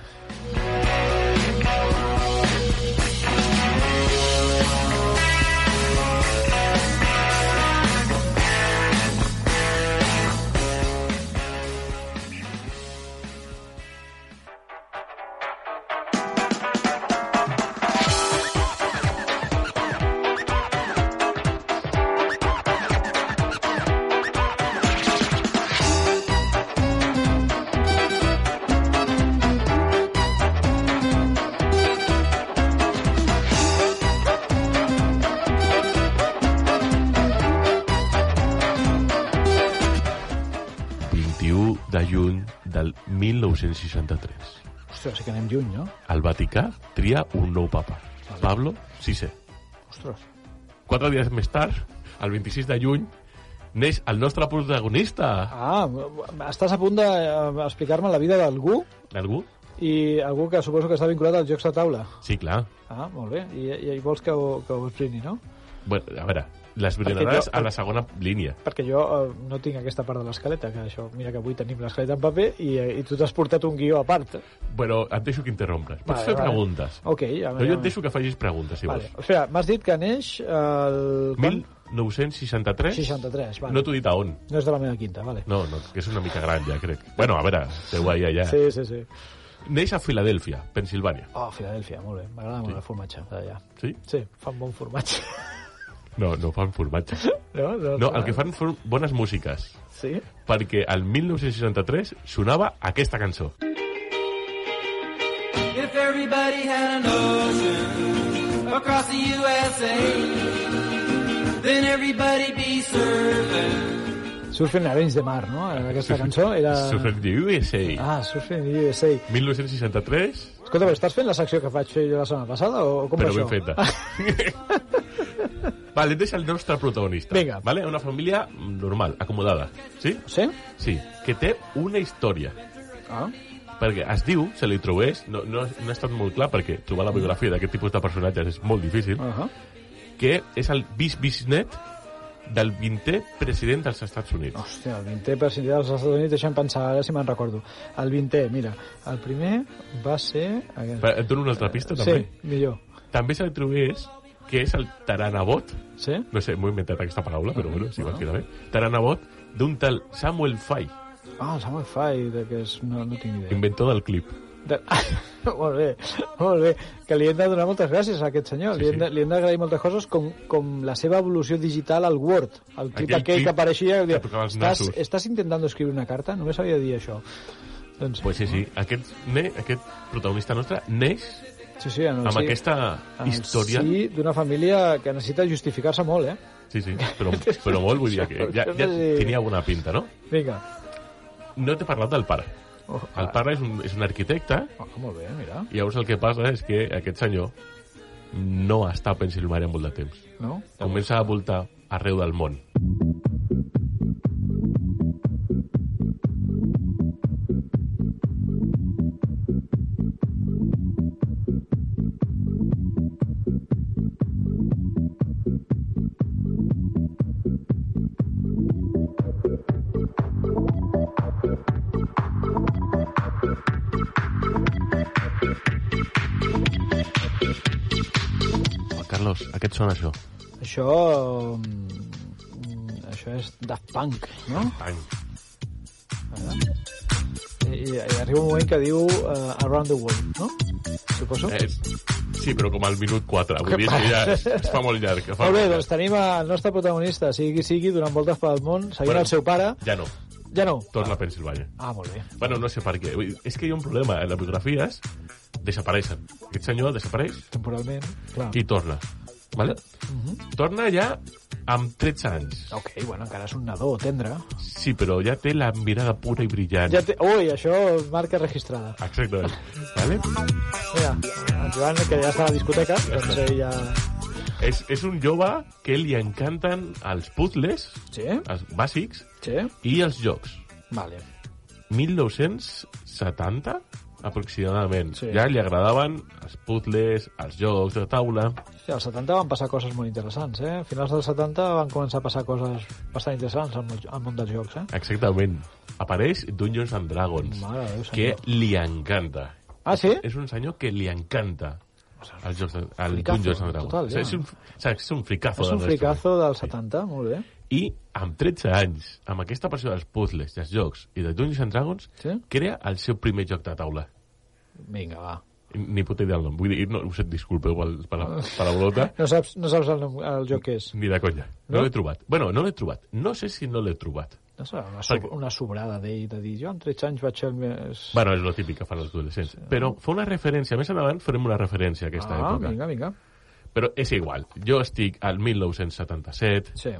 Speaker 3: El 21 de juny del 1963.
Speaker 2: Ostres, sí que anem lluny, no?
Speaker 3: El Vaticà tria un nou papa, Pablo VI.
Speaker 2: Ostres.
Speaker 3: Quatre dies més tard, el 26 de juny, neix el nostre protagonista.
Speaker 2: Ah, estàs a punt d'explicar-me la vida d'algú
Speaker 3: Algú?
Speaker 2: i algú que suposo que està vinculat als jocs de taula.
Speaker 3: Sí, clar.
Speaker 2: Ah, molt bé. I, i vols que ho, que ho esbrini, no?
Speaker 3: Bueno, a veure, les brillanades
Speaker 2: jo-
Speaker 3: a la segona línia.
Speaker 2: Perquè jo eh, no tinc aquesta part de l'escaleta, que això, mira que avui tenim l'escaleta en paper i, eh, i tu t'has portat un guió a part.
Speaker 3: Bueno, et deixo que interrompres. Pots
Speaker 2: Vale, Oh,
Speaker 3: fer
Speaker 2: vale.
Speaker 3: preguntes.
Speaker 2: Ok, ja,
Speaker 3: No, jo et deixo que facis preguntes, si
Speaker 2: Vale.
Speaker 3: vols.
Speaker 2: O sigui, m'has dit que neix el... quan?
Speaker 3: 1963?
Speaker 2: 63, vale.
Speaker 3: No t'ho he dit a on.
Speaker 2: No és de la meva quinta, vale.
Speaker 3: No, no, que és una mica gran ja, crec. Bueno, a veure, teu allà ja.
Speaker 2: Sí, sí, sí.
Speaker 3: Neix a Filadèlfia, Pensilvània.
Speaker 2: Oh, Filadèlfia, molt bé. M'agrada molt el formatge d'allà.
Speaker 3: Sí?
Speaker 2: Sí, fan bon formatge.
Speaker 3: No, no fan formatge.
Speaker 2: No, no,
Speaker 3: No, el que fan són bones músiques.
Speaker 2: Sí?
Speaker 3: Perquè el 1963 sonava aquesta cançó.
Speaker 7: If everybody had an ocean across the USA, then everybody be surfing.
Speaker 2: Surfen arenys de mar, no? En aquesta cançó era...
Speaker 3: Surfer the USA.
Speaker 2: Ah, Surfen USA.
Speaker 3: 1963,
Speaker 2: Escolta, però estàs fent la secció que faig jo la setmana passada o com
Speaker 3: però
Speaker 2: va
Speaker 3: ben
Speaker 2: això? Ah,
Speaker 3: feta. vale, deixa el nostre protagonista.
Speaker 2: Vinga.
Speaker 3: Vale? Una família normal, acomodada. Sí?
Speaker 2: Sí?
Speaker 3: Sí, que té una història.
Speaker 2: Ah.
Speaker 3: Perquè es diu, se li trobés, no, no, no ha estat molt clar perquè trobar la biografia d'aquest tipus de personatges és molt difícil,
Speaker 2: Uh -huh.
Speaker 3: que és el bisbisnet del 20è president dels Estats Units.
Speaker 2: Hòstia, el 20è president dels Estats Units, deixa'm pensar, ara si me'n recordo. El 20è, mira, el primer va ser... Aquest.
Speaker 3: Però Et dono una altra pista, també.
Speaker 2: Eh, Sí, millor.
Speaker 3: També se li trobés que és el taranabot,
Speaker 2: Sí?
Speaker 3: no sé, m'ho he inventat aquesta paraula, però bueno, si igual queda bé, taranabot d'un tal Samuel Fay,
Speaker 2: Ah, el Samuel Fay, de que és... no, no tinc idea.
Speaker 3: inventor del clip.
Speaker 2: De... molt bé, molt bé. Que li hem de donar moltes gràcies a aquest senyor.
Speaker 3: Sí,
Speaker 2: Sí, li hem de-
Speaker 3: sí.
Speaker 2: li hem d'agrair moltes coses, com, com la seva evolució digital al Word. El clip
Speaker 3: Aquell
Speaker 2: aquell, aquell
Speaker 3: clip
Speaker 2: que apareixia... Que
Speaker 3: que
Speaker 2: deia,
Speaker 3: tocava els
Speaker 2: estàs,
Speaker 3: nassos."
Speaker 2: estàs intentant escriure una carta? Només sabia dir això. Doncs,
Speaker 3: Pues sí, sí, aquest, ne, aquest protagonista nostre neix
Speaker 2: sí, sí, en el
Speaker 3: amb
Speaker 2: Doncs sí,
Speaker 3: aquesta
Speaker 2: en el
Speaker 3: història
Speaker 2: Sí, d'una família que necessita justificar-se molt, eh?
Speaker 3: Sí, sí, però, però molt, vull dir que ja, ja tenia bona pinta, no?
Speaker 2: Vinga.
Speaker 3: No t'he parlat del pare.
Speaker 2: Oh,
Speaker 3: El pare és un, és un arquitecte,
Speaker 2: Oh, molt bé, mira.
Speaker 3: i llavors el que passa és que aquest senyor no està a Pensilvània molt de temps.
Speaker 2: No?
Speaker 3: Comença a voltar arreu del món. Oh, Carlos, a què et sona això?
Speaker 2: Això... mm, Això és Daft Punk, no?
Speaker 3: Bang.
Speaker 2: I, i arriba un moment que diu eh, Around the World, no? Suposo.
Speaker 3: Eh, sí, però com al minut 4. Vull dir que ja es, es fa molt llarg. que Fa
Speaker 2: Molt bé,
Speaker 3: molt
Speaker 2: doncs
Speaker 3: llarg.
Speaker 2: tenim el nostre protagonista, sigui qui sigui, donant voltes pel món, seguint
Speaker 3: Bueno.
Speaker 2: el seu pare.
Speaker 3: Ja no,
Speaker 2: Ja no.
Speaker 3: torna a Pensilvània.
Speaker 2: Ah, molt bé.
Speaker 3: Bueno, no sé per què. Vull dir, És que hi ha un problema. eh? Les biografies desapareixen. Aquest senyor desapareix
Speaker 2: Temporalment, clar.
Speaker 3: i torna. Vale?
Speaker 2: Mhm.
Speaker 3: Torna ja amb 13 anys.
Speaker 2: Ok, bueno, encara és un nadó, tendre.
Speaker 3: Sí, però ja té la mirada pura i brillant.
Speaker 2: Ja té... Ui, això marca registrada.
Speaker 3: Exactament. Vale?
Speaker 2: Mira, en Joan, que ja està a la discoteca, doncs ell ja...
Speaker 3: És, és un jove que li encanten els puzzles,
Speaker 2: Sí?
Speaker 3: els bàsics,
Speaker 2: Sí?
Speaker 3: i els jocs.
Speaker 2: Vale.
Speaker 3: 1970, aproximadament.
Speaker 2: Sí.
Speaker 3: Ja li agradaven els puzzles, els jocs de taula...
Speaker 2: Sí, als 70 van passar coses molt interessants, eh? A finals dels 70 van començar a passar coses bastant interessants al, món- al món dels jocs, eh?
Speaker 3: Exactament. Apareix Dungeons and Dragons,
Speaker 2: Mare de Déu,
Speaker 3: que
Speaker 2: senyor.
Speaker 3: li encanta.
Speaker 2: Ah, sí?
Speaker 3: És un senyor que li encanta els jocs de, el
Speaker 2: fricazo,
Speaker 3: Dungeons and Dragons.
Speaker 2: total, ja.
Speaker 3: és, un, o sigui, és un fricazo.
Speaker 2: És
Speaker 3: de
Speaker 2: un
Speaker 3: nuestro.
Speaker 2: fricazo del 70, molt bé.
Speaker 3: I amb 13 anys, amb aquesta passió dels puzzles, dels jocs i de Dungeons and Dragons,
Speaker 2: Sí?
Speaker 3: crea el seu primer joc de taula.
Speaker 2: Vinga, va.
Speaker 3: Ni puta idea del nom. Vull dir, no, us et disculpeu pel, per, la, per la volota,
Speaker 2: No saps, no saps el, nom, el joc que és?
Speaker 3: ni de conya. No,
Speaker 2: No?
Speaker 3: l'he trobat. Bueno, no l'he trobat. No sé si no l'he trobat.
Speaker 2: No serà una, so
Speaker 3: Perquè-
Speaker 2: una sobrada d'ell de dir, jo amb 13 anys vaig ser el més...
Speaker 3: Bueno, és lo típic que fan els adolescents. Però fa una referència, més endavant farem una referència a
Speaker 2: ah,
Speaker 3: aquesta època.
Speaker 2: vinga, vinga.
Speaker 3: Però és igual, jo estic al 1977,
Speaker 2: Sí.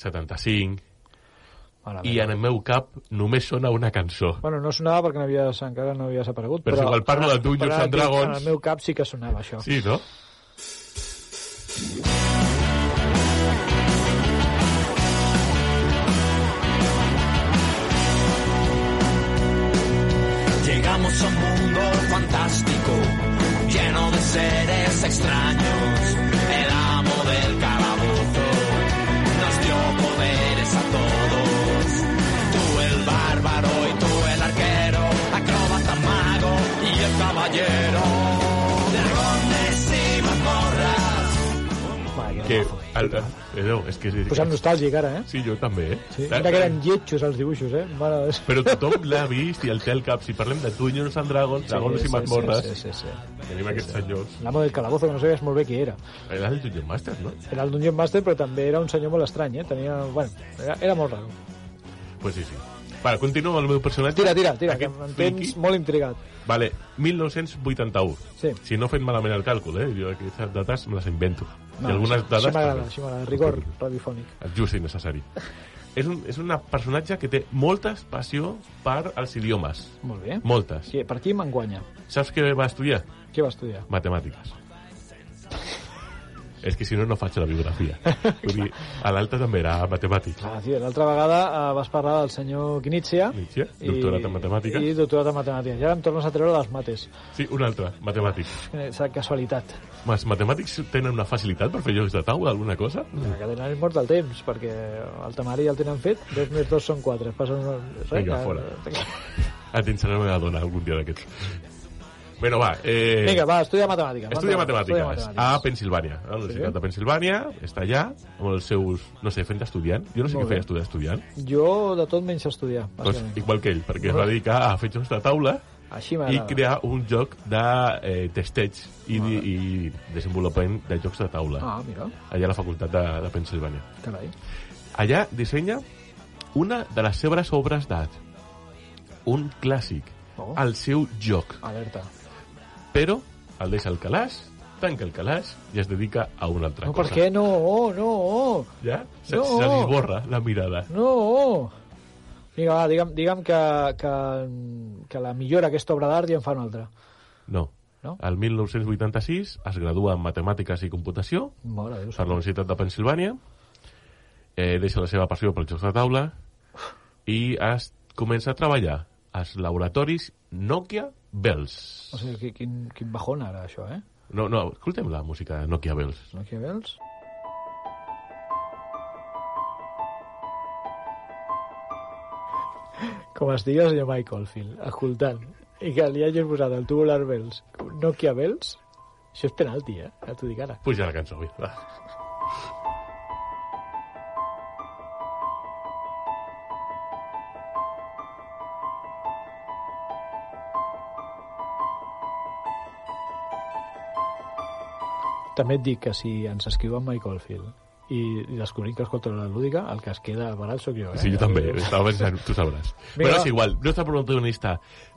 Speaker 3: 75,
Speaker 2: Mare
Speaker 3: i
Speaker 2: meva.
Speaker 3: en el meu cap només sona una cançó.
Speaker 2: Bueno, no sonava perquè no havies, encara no havies aparegut.
Speaker 3: Però és igual, parlo de
Speaker 2: ara-
Speaker 3: Dungeons
Speaker 2: però ara
Speaker 3: and
Speaker 2: tinc- En
Speaker 3: Dragons.
Speaker 2: el meu cap sí que sonava això.
Speaker 3: Sí, no?
Speaker 2: fantàstica.
Speaker 3: Però eh, és que...
Speaker 2: Posem nostàlgic ara, eh?
Speaker 3: Sí, jo també, eh?
Speaker 2: Sí. Mira que eren lletjos els dibuixos, eh? Mare de...
Speaker 3: Però tothom l'ha vist i el té al cap. Si parlem de Dungeons and Dragons, Dragons i Mazmorres,
Speaker 2: Sí, sí, sí, sí.
Speaker 3: tenim aquests senyors.
Speaker 2: L'amo del calabozo, que no sabies molt bé qui era.
Speaker 3: Era el Dungeon Master, no?
Speaker 2: Era el Dungeon Master, però també era un senyor molt estrany, eh? Tenia... Bueno, era, era molt raro.
Speaker 3: Pues sí, sí. Vale, continuo amb el meu personatge.
Speaker 2: Tira, tira, tira, que
Speaker 3: Aquest
Speaker 2: em
Speaker 3: friki.
Speaker 2: tens molt intrigat.
Speaker 3: Vale, 1981.
Speaker 2: Sí.
Speaker 3: Si no he fet malament el càlcul, eh? Jo aquestes dates me les invento.
Speaker 2: No,
Speaker 3: I algunes
Speaker 2: això-
Speaker 3: dades...
Speaker 2: Això m'agrada,
Speaker 3: també.
Speaker 2: això m'agrada. Rigor radiofònic.
Speaker 3: Just i necessari. és, un, és un personatge que té moltes passió per als idiomes.
Speaker 2: Molt bé.
Speaker 3: Moltes.
Speaker 2: Sí, per aquí me'n guanya.
Speaker 3: Saps què va estudiar?
Speaker 2: Què va estudiar?
Speaker 3: Matemàtiques. és que si no, no faig la biografia. Vull dir, a l'alta també era matemàtic.
Speaker 2: Ah, sí, l'altra vegada eh, vas parlar del senyor Knizia.
Speaker 3: Knizia, doctorat en matemàtiques.
Speaker 2: I doctorat en matemàtiques. I ara em tornes a treure les mates.
Speaker 3: Sí, un altre, matemàtic.
Speaker 2: Eh, sa- casualitat.
Speaker 3: Els matemàtics tenen una facilitat per fer llocs de taula, alguna cosa?
Speaker 2: La cadena és mort del temps, perquè el temari ja el tenen fet, dos més dos són quatre. Passen... Res,
Speaker 3: Vinga,
Speaker 2: que-
Speaker 3: fora. Et ensenyaré una dona algun dia d'aquests. Bueno, va. Eh...
Speaker 2: Vinga, va, estudia matemàtiques.
Speaker 3: Estudia matemàtiques, a
Speaker 2: Ah,
Speaker 3: Pensilvània, a la Universitat de Pensilvània, està allà, amb els seus, no sé, fent d'estudiant. Jo no sé
Speaker 2: Molt
Speaker 3: què feia
Speaker 2: bé.
Speaker 3: estudiar estudiant,
Speaker 2: Jo de tot menys estudiar,
Speaker 3: doncs,
Speaker 2: bàsicament.
Speaker 3: igual que ell, perquè es va dedicar a fer jocs de taula
Speaker 2: Així
Speaker 3: i
Speaker 2: m'agrada.
Speaker 3: crear un joc de eh, testeig i, i, i desenvolupament de jocs de taula,
Speaker 2: Ah, mira,
Speaker 3: allà a la Facultat de, de Pensilvània.
Speaker 2: carai.
Speaker 3: Allà dissenya una de les seves obres d'art, un clàssic,
Speaker 2: Oh.
Speaker 3: al seu joc.
Speaker 2: Alerta.
Speaker 3: Però el deixa al calaix, tanca el calaix i es dedica a una altra
Speaker 2: No, per
Speaker 3: cosa.
Speaker 2: què? No, oh, no, oh,
Speaker 3: Ja? Se,
Speaker 2: No.
Speaker 3: se li borra la mirada.
Speaker 2: no. oh. Vinga, va, digue'm, digue'm que, que, que la millora aquesta obra d'art ja en fa una altra.
Speaker 3: No.
Speaker 2: No?
Speaker 3: El 1986 es gradua en Matemàtiques i Computació
Speaker 2: Mare de Déu.
Speaker 3: per la Universitat de Pensilvània, eh, deixa la seva passió pels jocs de taula i es comença a treballar als laboratoris Nokia Bells.
Speaker 2: O sigui, qui- quin, quin bajón ara, això, eh?
Speaker 3: No, no, escoltem la música de Nokia Bells.
Speaker 2: No que veus? Com es digui el senyor Michael Field, escoltant, i que li hagis posat el tubular bells, Nokia bells, això és penalti, eh? Ja t'ho dic ara.
Speaker 3: Puja la cançó, Ah, vinga. va.
Speaker 2: També et dic que si ens escriu en Michael Field i, i descobrim que escolta la lúdica, el que es queda barat sóc jo, eh?
Speaker 3: Sí, jo també, estava pensant, tu sabràs. Però
Speaker 2: va.
Speaker 3: és igual, nostre protagonista,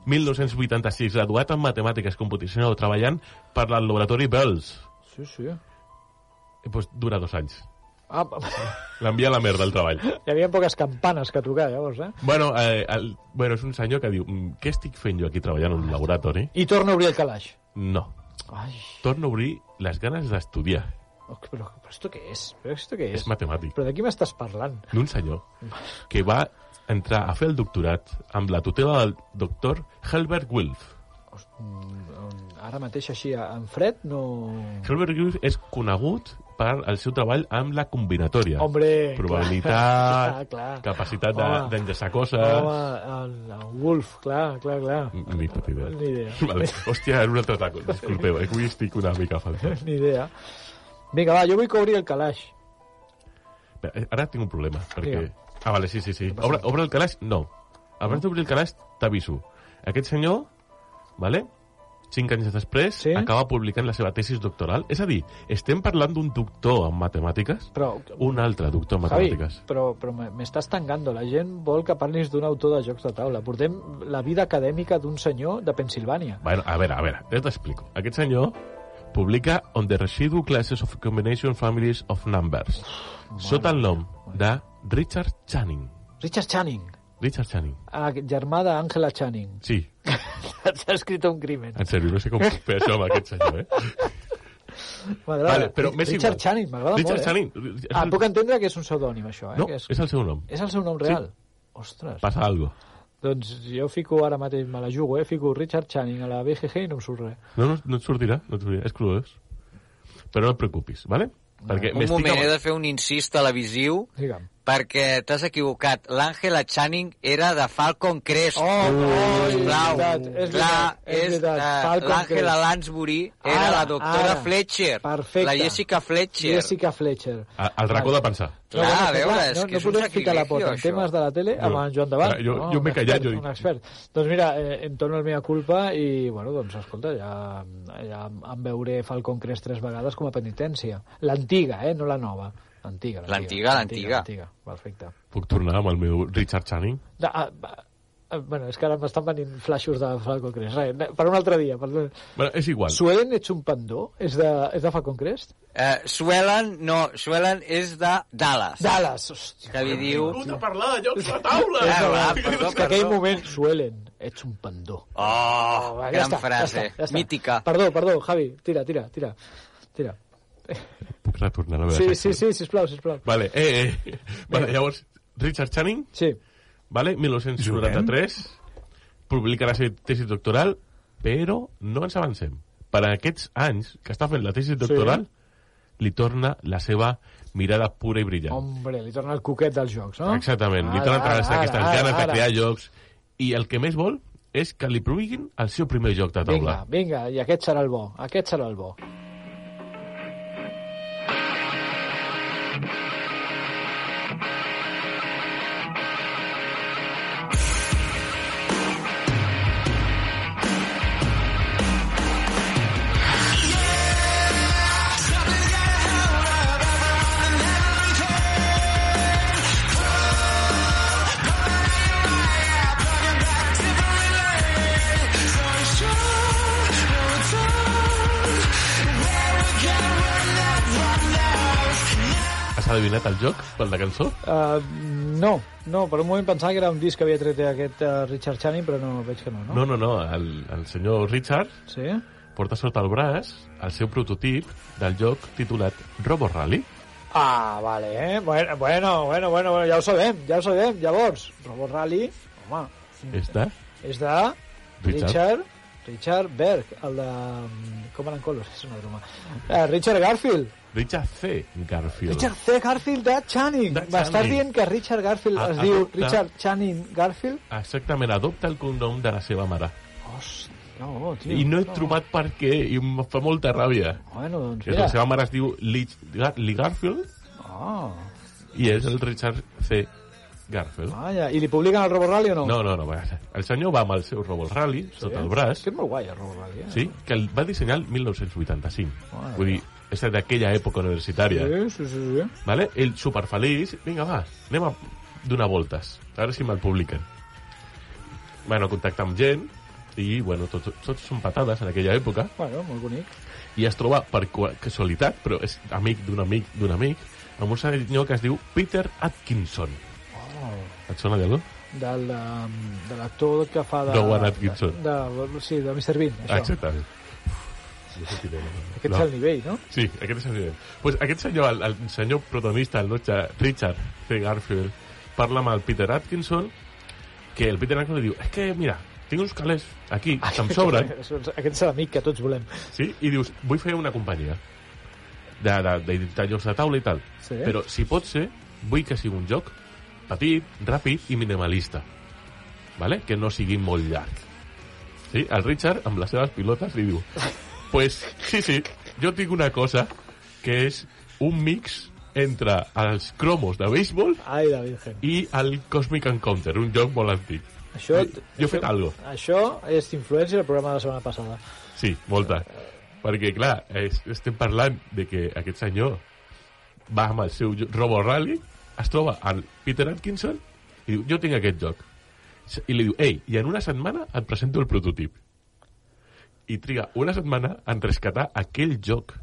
Speaker 3: 1986, graduat en Matemàtiques Computació, treballant per al laboratori Bells.
Speaker 2: Sí, sí.
Speaker 3: Eh, pues dura dos anys.
Speaker 2: Ah, pa-
Speaker 3: L'envia a la merda al treball.
Speaker 2: hi havia poques campanes que trucar, llavors, eh?
Speaker 3: Bueno, eh, el, bueno, és un senyor que diu "Mm, què estic fent jo aquí treballant en un laboratori?
Speaker 2: I torna a obrir el calaix.
Speaker 3: No.
Speaker 2: Ai,
Speaker 3: Torno a obrir les ganes d'estudiar.
Speaker 2: oh, però, però esto què és? Però esto què és?
Speaker 3: És matemàtic.
Speaker 2: Però de qui m'estàs parlant?
Speaker 3: D'un senyor que va entrar a fer el doctorat amb la tutela del doctor Helbert Wilf.
Speaker 2: mm, Ara mateix així, en fred, no...
Speaker 3: Helbert Wilf és conegut per el seu treball amb la combinatòria.
Speaker 2: Hombre,
Speaker 3: Probabilitat,
Speaker 2: clar, clar, clar.
Speaker 3: capacitat
Speaker 2: Home.
Speaker 3: de- d'enllaçar coses...
Speaker 2: Home, el, el Wolf, clar, clar, clar.
Speaker 3: Ni puta idea.
Speaker 2: Ni idea.
Speaker 3: Vale. Hòstia, era un altre taco. Disculpeu, eh, que avui estic una mica falta.
Speaker 2: Ni idea. Vinga, va, jo vull que obri el calaix.
Speaker 3: Espera, eh, Ara tinc un problema, perquè...
Speaker 2: Digue.
Speaker 3: Ah, vale, sí, sí, sí. Obre, obre el calaix? No. Abans d'obrir el calaix, t'aviso. Aquest senyor, vale? cinc anys després,
Speaker 2: Sí.
Speaker 3: acaba publicant la seva tesis doctoral. És a dir, estem parlant d'un doctor en matemàtiques,
Speaker 2: Però,
Speaker 3: un altre doctor en
Speaker 2: Javi,
Speaker 3: matemàtiques.
Speaker 2: però, però me- m'estàs tangando. La gent vol que parlis d'un autor de jocs de taula. Portem la vida acadèmica d'un senyor de Pensilvània.
Speaker 3: Bueno, a veure, a veure, jo t'explico. Aquest senyor publica On the Residual Classes of Combination Families of Numbers, sota el nom de Richard Channing.
Speaker 2: Richard Channing,
Speaker 3: Richard Channing.
Speaker 2: ah, germà d'Àngela Channing.
Speaker 3: Sí,
Speaker 2: S'ha escrit un crimen.
Speaker 3: en sèrio, no sé com puc fer això amb aquest senyor, eh?
Speaker 2: M'agrada.
Speaker 3: Vale, però m'és
Speaker 2: Richard
Speaker 3: igual.
Speaker 2: Channing, m'agrada molt.
Speaker 3: Richard
Speaker 2: eh?
Speaker 3: Channing. és
Speaker 2: Ah,
Speaker 3: el-
Speaker 2: puc entendre que és un pseudònim, això, eh?
Speaker 3: No,
Speaker 2: que
Speaker 3: és... el seu nom.
Speaker 2: És el seu nom real? Sí. Ostres.
Speaker 3: Passa algo.
Speaker 2: Doncs jo fico ara mateix, me la jugo, eh? Fico Richard Channing a la BGG i no em surt res.
Speaker 3: No, no, no et sortirà, no et sortirà. És cruel. Però no et preocupis, vale? Perquè
Speaker 5: Un
Speaker 3: m'estic
Speaker 5: moment, he
Speaker 3: amb-
Speaker 5: de fer un incís televisiu
Speaker 2: Digue'm.
Speaker 5: perquè t'has equivocat. L'Àngela Channing era de Falcon Crest.
Speaker 2: Oh, oh, és
Speaker 5: sisplau.
Speaker 2: veritat, és
Speaker 5: Clar,
Speaker 2: veritat, és
Speaker 5: és,
Speaker 2: veritat.
Speaker 5: eh,
Speaker 2: Falcon
Speaker 5: L'Àngela
Speaker 2: Crest.
Speaker 5: Lansbury era
Speaker 2: Ara,
Speaker 5: la doctora
Speaker 2: ara.
Speaker 5: Fletcher.
Speaker 2: Perfecte.
Speaker 5: La Jessica Fletcher.
Speaker 2: Jessica Fletcher.
Speaker 3: A- Al racó de pensar.
Speaker 5: Clar,
Speaker 2: bueno,
Speaker 5: a Ah, veure,
Speaker 2: clar,
Speaker 5: és
Speaker 2: no,
Speaker 5: que
Speaker 2: no
Speaker 5: és un
Speaker 2: podem ficar la pota en
Speaker 5: sacrifici,
Speaker 2: temes
Speaker 5: això.
Speaker 2: de la tele amb
Speaker 3: Jo-
Speaker 2: en Joan Davant.
Speaker 3: jo-
Speaker 2: no?
Speaker 3: jo m'he
Speaker 2: Un
Speaker 3: callat,
Speaker 2: expert,
Speaker 3: jo dic-
Speaker 2: Un expert. Doncs mira, eh, em torno el mea culpa i, bueno, doncs, escolta, ja, ja em veuré Falcon Crest tres vegades com a penitència. L'antiga, eh? No la nova. L'antiga.
Speaker 5: L'antiga, l'antiga.
Speaker 2: L'antiga, perfecte.
Speaker 3: Puc tornar amb el meu Richard Channing?
Speaker 2: Da, ah, ah, ah, bueno, és que ara m'estan venint flaixos de Falcon Crest. Res, ne- per un altre dia. Per...
Speaker 3: Bueno, és igual.
Speaker 2: Sueden ets un pandó? És de, és de Falcon Crest?
Speaker 5: Eh, Suelen, no, Suelen és de Dallas.
Speaker 2: Dallas! Hòstia.
Speaker 5: que li diu...
Speaker 3: a parlar de llocs de taula!
Speaker 5: Ah, va, perdó,
Speaker 2: En aquell
Speaker 5: perdó.
Speaker 2: moment, Suelen, ets un pandó.
Speaker 5: Oh,
Speaker 2: Va,
Speaker 5: gran frase. Mítica.
Speaker 2: Perdó, perdó, Javi, tira, tira, tira. Tira.
Speaker 3: Puc retornar a la meva
Speaker 2: Sí,
Speaker 3: secció?
Speaker 2: sí, sí, sisplau, sisplau.
Speaker 3: Vale, eh, eh. Vale, llavors, Richard Channing,
Speaker 2: Sí.
Speaker 3: vale, 1993, publica la seva tesi doctoral, però no ens avancem. Per aquests anys que està fent la tesi doctoral, li torna la seva mirada pura i brillant.
Speaker 2: Hombre, li torna el coquet dels jocs, no?
Speaker 3: Exactament, li torna a travessar aquestes ganes de crear jocs. I el que més vol és que li proviguin el seu primer joc de taula.
Speaker 2: Vinga, vinga, i aquest serà el bo, aquest serà el bo.
Speaker 3: Has adivinat el joc pel de cançó?
Speaker 2: Uh, no, no, per un moment pensava que era un disc que havia tret aquest uh, Richard Channing, però no, veig que no, no?
Speaker 3: No, no, no, el, el senyor Richard
Speaker 2: Sí?
Speaker 3: porta sota el braç el seu prototip del joc titulat Robo Rally.
Speaker 2: Ah, vale, eh? Bueno, bueno, bueno, bueno, bueno, ja ho sabem, ja ho sabem. Llavors, Robot Rally, home,
Speaker 3: Està?
Speaker 2: és de
Speaker 3: Richard.
Speaker 2: Richard, Richard Berg, el de... mm, Com eren colors? És una broma. Eh, Richard Garfield.
Speaker 3: Richard C. Garfield.
Speaker 2: Richard C. Garfield de Channing.
Speaker 3: De
Speaker 2: M'estàs
Speaker 3: Channing. Ah,
Speaker 2: dient que Richard Garfield
Speaker 3: A-
Speaker 2: es diu
Speaker 3: adopta.
Speaker 2: Richard Channing Garfield?
Speaker 3: Exactament, adopta el cognom de la seva mare.
Speaker 2: Hòstia, no, tio.
Speaker 3: I no he trobat per què, i em fa molta ràbia.
Speaker 2: Bueno, doncs
Speaker 3: És la
Speaker 2: mira.
Speaker 3: seva mare es diu Lee, Gar- Lee Garfield
Speaker 2: Ah,
Speaker 3: i és el Richard C. Garfield.
Speaker 2: vaja. I li publiquen el Robo Rally o no?
Speaker 3: No, no, no. va. El senyor va amb el seu Robo Rally sota el braç,
Speaker 2: És que és molt guai el Robo Rally, eh?
Speaker 3: sí, que el va dissenyar el 1985.
Speaker 2: Mare
Speaker 3: Vull dir, és d'aquella època universitària.
Speaker 2: Sí, sí, sí. sí.
Speaker 3: ¿vale? El superfeliç, vinga, va, anem a donar voltes, a veure si me'l publiquen. Bueno, contacta amb gent, i, bueno, tot, tot són patades en aquella època,
Speaker 2: Bueno, molt bonic.
Speaker 3: i es troba per cua- casualitat, però és amic d'un amic d'un amic, amb un senyor que es diu Peter Atkinson. Oh. Et sona d'algú?
Speaker 2: Del, um, de l'actor que fa de...
Speaker 3: Rowan Atkinson. Ah,
Speaker 2: De, de, sí, de Mr. Bean, això.
Speaker 3: Exactament.
Speaker 2: Aquest
Speaker 3: No.
Speaker 2: és el nivell, no?
Speaker 3: Sí, aquest és el nivell. Pues aquest senyor, el, el senyor protagonista, el nostre Richard C. Garfield, parla amb el Peter Atkinson, que el Peter Atkinson li diu, és es que, mira, tinc uns calés aquí, que em Ah, sobren,
Speaker 2: Aquest és l'amic que tots volem.
Speaker 3: sí? i dius, vull fer una companyia de, de, de, de jocs de taula i tal.
Speaker 2: Sí.
Speaker 3: Però, si pot ser, vull que sigui un joc petit, ràpid i minimalista. Vale? Que no sigui molt llarg. Sí? El Richard, amb les seves pilotes, li diu pues, sí, sí, jo tinc una cosa que és un mix entre els cromos de béisbol
Speaker 2: Ai, la Virgen.
Speaker 3: i el Cosmic Encounter, un joc molt antic.
Speaker 2: Això,
Speaker 3: Jo- jo he fet algo.
Speaker 2: Això és influència del programa de la setmana passada.
Speaker 3: Sí, molta. Perquè, clar, es, estem parlant de que aquest senyor va amb el seu jo- Robo Rally, es troba al Peter Atkinson i diu, jo tinc aquest joc. S- I li diu, ei, i en una setmana et presento el prototip. I triga una setmana en rescatar aquell joc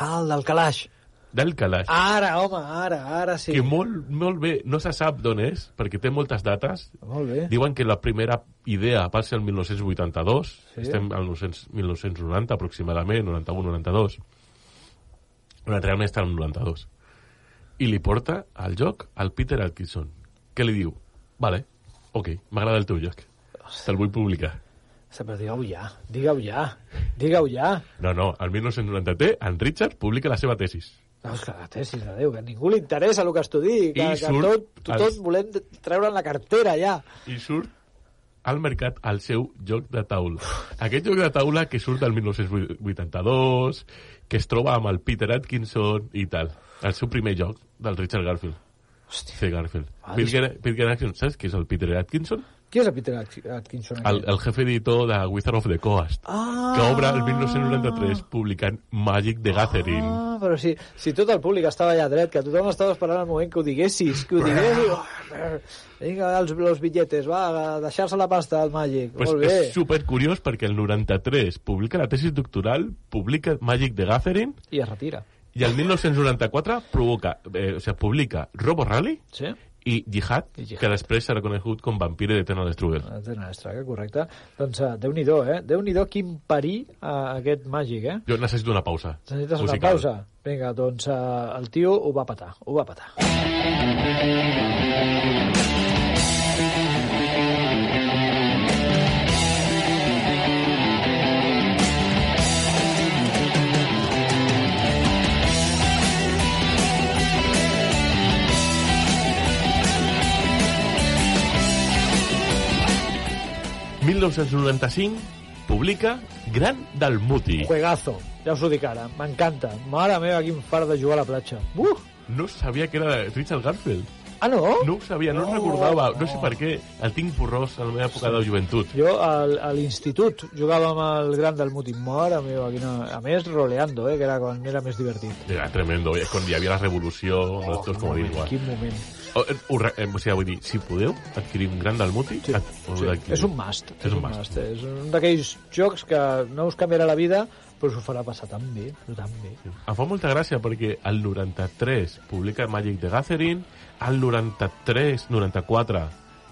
Speaker 2: Ah, el del calaix.
Speaker 3: del calaix.
Speaker 2: Ara, home, ara, ara Ah, sí.
Speaker 3: que molt, molt bé, no se sap d'on és, perquè té moltes dates.
Speaker 2: Molt bé.
Speaker 3: Diuen que la primera idea va ser el 1982,
Speaker 2: Sí.
Speaker 3: sí. estem al 900 1990 aproximadament, 91-92. Però realment està al 92. I li porta al joc al Peter Atkinson, que li diu, vale, ok, m'agrada el teu joc, te'l vull publicar.
Speaker 2: Se, però digue-ho ja, digue-ho ja, digue-ho ja.
Speaker 3: No, no, al 1990 en Richard publica la seva tesis.
Speaker 2: No, és que la tesis, adéu, que a ningú li interessa el que estudi, que, que
Speaker 3: I surt
Speaker 2: tot, tot,
Speaker 3: als-
Speaker 2: volem treure'n la cartera ja.
Speaker 3: i surt al mercat al seu joc de taula. Aquest joc de taula que surt del 1982, que es troba amb el Peter Atkinson i tal. El seu primer joc, del Richard Garfield. Hòstia. Sí, Garfield.
Speaker 2: Madre.
Speaker 3: Peter, Peter Atkinson, saps qui és el Peter Atkinson?
Speaker 2: Qui és el Peter Atk- Atkinson?
Speaker 3: El,
Speaker 2: aquest?
Speaker 3: el jefe editor de Wizard of the Coast,
Speaker 2: Ah.
Speaker 3: que obre el 1993 publicant Magic the Gathering.
Speaker 2: Ah, però si, si tot el públic estava allà dret, que tothom estava esperant el moment que ho diguessis, que ho diguessis. Vinga, els, els bitllets, va, a deixar-se la pasta al màgic.
Speaker 3: Pues
Speaker 2: Molt bé.
Speaker 3: és super curiós perquè el 93 publica la tesis doctoral, publica Magic the Gathering
Speaker 2: I es retira.
Speaker 3: I el 1994 provoca, eh, o sigui, publica Robo Rally
Speaker 2: Sí?
Speaker 3: i Jihad,
Speaker 2: I Jihad.
Speaker 3: que després s'ha reconegut com Vampire de Eternal Struggle.
Speaker 2: Estraga, correcte. Doncs uh, Déu-n'hi-do, eh? Déu-n'hi-do quin parí uh, aquest màgic, eh?
Speaker 3: Jo necessito una pausa.
Speaker 2: Necessites una pausa? Vinga, doncs uh, el tio ho va patar, ho va patar.
Speaker 3: pausa. 1995 publica Gran Dalmuti.
Speaker 2: Juegazo, ja us ho dic ara, m'encanta. Mare meva, quin fart de jugar a la platja. Uh!
Speaker 3: No sabia que era de Richard Garfield.
Speaker 2: Ah, no?
Speaker 3: No ho sabia, no, no recordava. No sé per què. El tinc porrós a la meva època de joventut.
Speaker 2: Jo al, a l'institut jugava amb el gran del Mutin. Mare meva, quina... A més, roleando, eh, que era quan era més divertit.
Speaker 3: Era tremendo. eh, Quan hi havia la revolució, els dos com a dins.
Speaker 2: Quin moment.
Speaker 3: O, eh, ho re- eh, o sigui, vull dir, si podeu adquirir un Gran Dalmuti... Sí.
Speaker 2: És un must.
Speaker 3: És un must.
Speaker 2: És un d'aquells jocs que no us canviarà la vida, però us ho farà passar tan bé, però tan bé.
Speaker 3: Em fa molta gràcia perquè el 93 publica Magic the Gathering, el 93, 94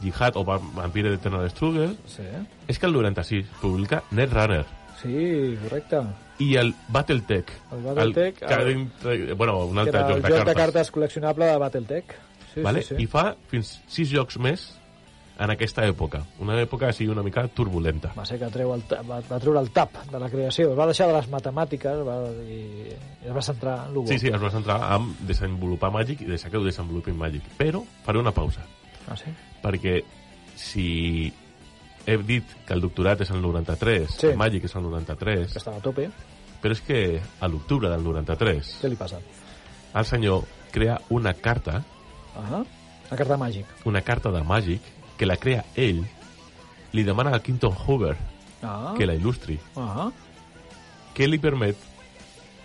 Speaker 3: Jihad o Vam- Vampire de Eternal Struggle,
Speaker 2: Sí, eh?
Speaker 3: és que el 96 publica Netrunner
Speaker 2: sí correcte.
Speaker 3: i el Battletech.
Speaker 2: El Battletech,
Speaker 3: que
Speaker 2: el-
Speaker 3: dintre- bueno, un
Speaker 2: Que
Speaker 3: altre
Speaker 2: era
Speaker 3: joc
Speaker 2: el
Speaker 3: de
Speaker 2: joc
Speaker 3: cartes.
Speaker 2: de cartes col·leccionable de Battletech. Sí,
Speaker 3: vale?
Speaker 2: sí, sí.
Speaker 3: I fa fins 6 jocs més en aquesta època. Una època així una mica turbulenta.
Speaker 2: Va ser que treu el, ta- va, va treure el tap de la creació, es va deixar de les matemàtiques va, i, i es va centrar en l'Ugo.
Speaker 3: Sí, sí, es va centrar en desenvolupar Magic i deixar que ho desenvolupin Magic. Però faré una pausa.
Speaker 2: Ah, sí?
Speaker 3: perquè si he dit que el doctorat és el 93,
Speaker 2: Sí.
Speaker 3: sí. el màgic és el
Speaker 2: Que
Speaker 3: 93,
Speaker 2: estava a tope.
Speaker 3: però és que a l'octubre del 93
Speaker 2: Què li passa?
Speaker 3: el senyor crea una carta,
Speaker 2: Ah, la carta màgic.
Speaker 3: una carta de màgic, que la crea ell, li demana a Quinton Hoover
Speaker 2: Ah,
Speaker 3: que la il·lustri,
Speaker 2: ah.
Speaker 3: que li permet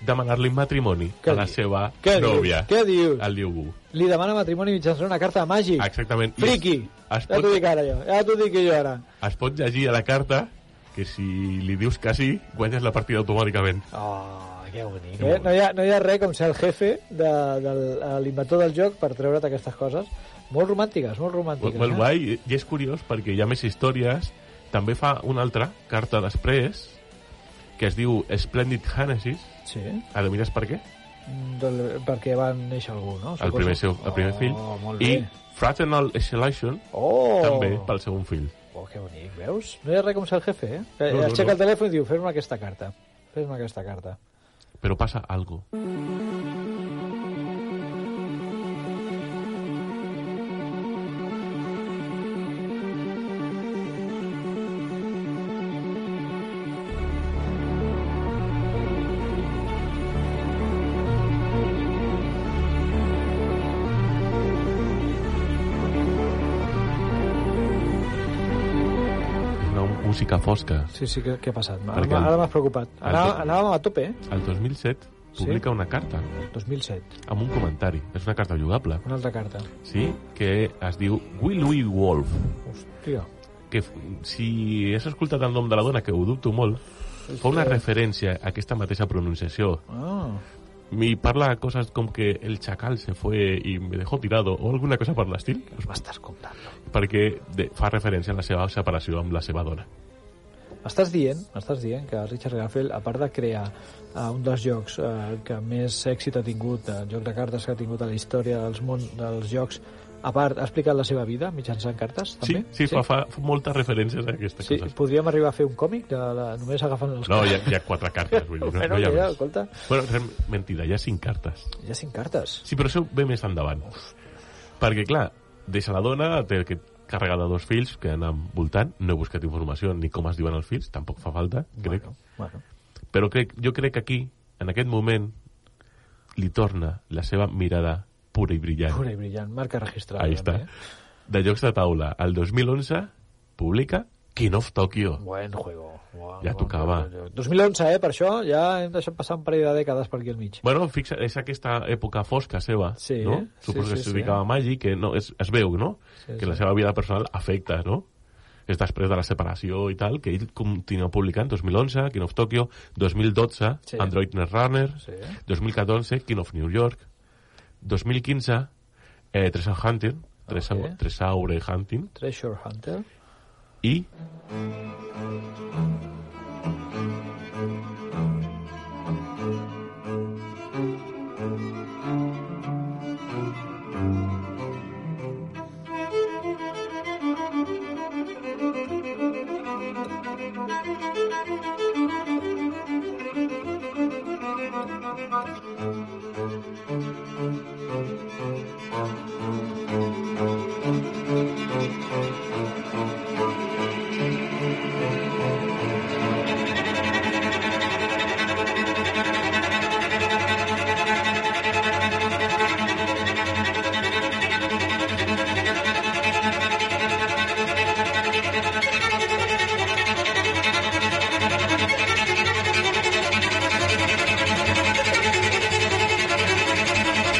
Speaker 3: demanar-li matrimoni
Speaker 2: Què
Speaker 3: a la
Speaker 2: dius?
Speaker 3: seva
Speaker 2: Què
Speaker 3: nòvia,
Speaker 2: dius? Què dius?
Speaker 3: al Liugu.
Speaker 2: Li demana matrimoni mitjançant una carta màgic.
Speaker 3: Exactament. I
Speaker 2: Friki.
Speaker 3: Es, es,
Speaker 2: Ja t'ho
Speaker 3: pot,
Speaker 2: dic ara jo, ja t'ho dic jo ara.
Speaker 3: es pot llegir a la carta que si li dius que sí, guanyes la partida automàticament.
Speaker 2: Oh, que bonic, eh? No hi, ha, no hi ha res com ser el jefe de, de l'inventor del joc per treure't aquestes coses. Molt romàntiques, molt romàntiques.
Speaker 3: Molt
Speaker 2: eh?
Speaker 3: guai, i és curiós perquè hi ha més històries. També fa una altra carta després, que es diu Splendid Genesis.
Speaker 2: Sí,
Speaker 3: Adevines per què?
Speaker 2: Mm, del, perquè van néixer algú, no?
Speaker 3: El primer, seu, el primer
Speaker 2: oh,
Speaker 3: fill.
Speaker 2: Molt
Speaker 3: I
Speaker 2: bé.
Speaker 3: Fraternal Exhalation,
Speaker 2: Oh,
Speaker 3: també pel segon fill.
Speaker 2: Oh, que bonic, veus? No hi ha res com ser el jefe, eh? No,
Speaker 3: no,
Speaker 2: Aixeca
Speaker 3: no.
Speaker 2: el telèfon i diu, fes-me aquesta carta. Fes-me aquesta carta.
Speaker 3: Però passa algo. Una música fosca.
Speaker 2: Sí, sí, què, què ha passat? Ara,
Speaker 3: Perquè el-
Speaker 2: ara m'has preocupat. Anava, anàvem a tope, eh?
Speaker 3: El 2007 publica una carta
Speaker 2: 2007.
Speaker 3: amb un comentari. És una carta jugable,
Speaker 2: Una altra carta.
Speaker 3: sí? Que es diu Will We Wolf.
Speaker 2: Hòstia.
Speaker 3: Que f- si has escoltat el nom de la dona, que ho dubto molt, fa una referència a aquesta mateixa pronunciació.
Speaker 2: Ah,
Speaker 3: I parla coses com que el chacal se fue y me dejó tirado o alguna cosa per l'estil,
Speaker 2: us m'estàs comptant.
Speaker 3: perquè de, fa referència a la seva separació amb la seva dona.
Speaker 2: M'estàs dient, m'estàs dient que Richard Garfield, a part de crear uh, un dels jocs eh, uh, que més èxit ha tingut, el joc de cartes que ha tingut a la història dels món dels jocs, A part, ha explicat la seva vida mitjançant cartes,
Speaker 3: Sí,
Speaker 2: també?
Speaker 3: sí, fa, fa moltes referències a aquestes
Speaker 2: Sí,
Speaker 3: coses.
Speaker 2: podríem arribar a fer un còmic de la... només agafant les
Speaker 3: No, hi ha, hi ha quatre cartes, vull dir, no,
Speaker 2: Bueno,
Speaker 3: no hi ha
Speaker 2: mira,
Speaker 3: més.
Speaker 2: escolta.
Speaker 3: Bueno, rem- mentida, hi ha cinc cartes.
Speaker 2: Hi ha cinc cartes.
Speaker 3: Sí, però això ve més endavant. Perquè, clar, deixa la dona, té aquest càrrega de dos fills que han voltant, no he buscat informació ni com es diuen els fills, tampoc fa falta, crec.
Speaker 2: Bueno,
Speaker 3: Però crec, jo crec que aquí, en aquest moment, li torna la seva mirada pura i brillant.
Speaker 2: pura i brillant, marca registrada.
Speaker 3: Ahí està.
Speaker 2: també, eh?
Speaker 3: De Jocs de Taula, el 2011, publica King of Tokyo.
Speaker 2: Buen juego. Buah,
Speaker 3: Ja
Speaker 2: buah,
Speaker 3: tocava.
Speaker 2: buah, buah. 2011, eh, per això ja hem deixat passar un parell de dècades per aquí al mig.
Speaker 3: Bueno, fixa, és aquesta època fosca seva,
Speaker 2: Sí,
Speaker 3: no?
Speaker 2: sí,
Speaker 3: Suposo que
Speaker 2: sí,
Speaker 3: s'hi
Speaker 2: sí.
Speaker 3: dedicava a Maggi, que no, es, es veu, no?
Speaker 2: Sí,
Speaker 3: que
Speaker 2: sí.
Speaker 3: la seva vida personal afecta, no? És després de la separació i tal, que ell continua publicant 2011, King of Tokyo, 2012,
Speaker 2: Sí.
Speaker 3: Android Netrunner,
Speaker 2: Sí.
Speaker 3: 2014, King of New York, 2015, eh, Treasure Hunting, Treasure,
Speaker 2: Ok.
Speaker 3: Treasure Hunting,
Speaker 2: Treasure Hunter.
Speaker 3: i...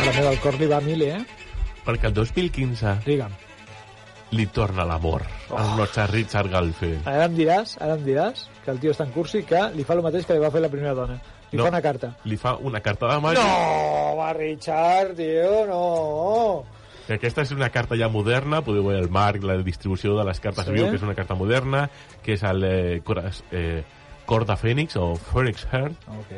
Speaker 2: A la meva al cor li va a mil, eh?
Speaker 3: Perquè el 2015
Speaker 2: Digue'm.
Speaker 3: li torna l'amor oh. amb Richard, Richard Galfield.
Speaker 2: Ara em diràs, ara em diràs que el tio està en cursi que li fa el mateix que li va fer la primera dona. Li
Speaker 3: No.
Speaker 2: fa una carta.
Speaker 3: Li fa una carta de Maggi...
Speaker 2: No, va, Richard, tio, no.
Speaker 3: Eh, Que Aquesta és una carta ja moderna, podeu veure el marc, la distribució de les cartes
Speaker 2: Sí.
Speaker 3: sí. viu, que és una carta moderna, que és el eh, cor, eh, cor de Fènix, o Phoenix Heart,
Speaker 2: Ok.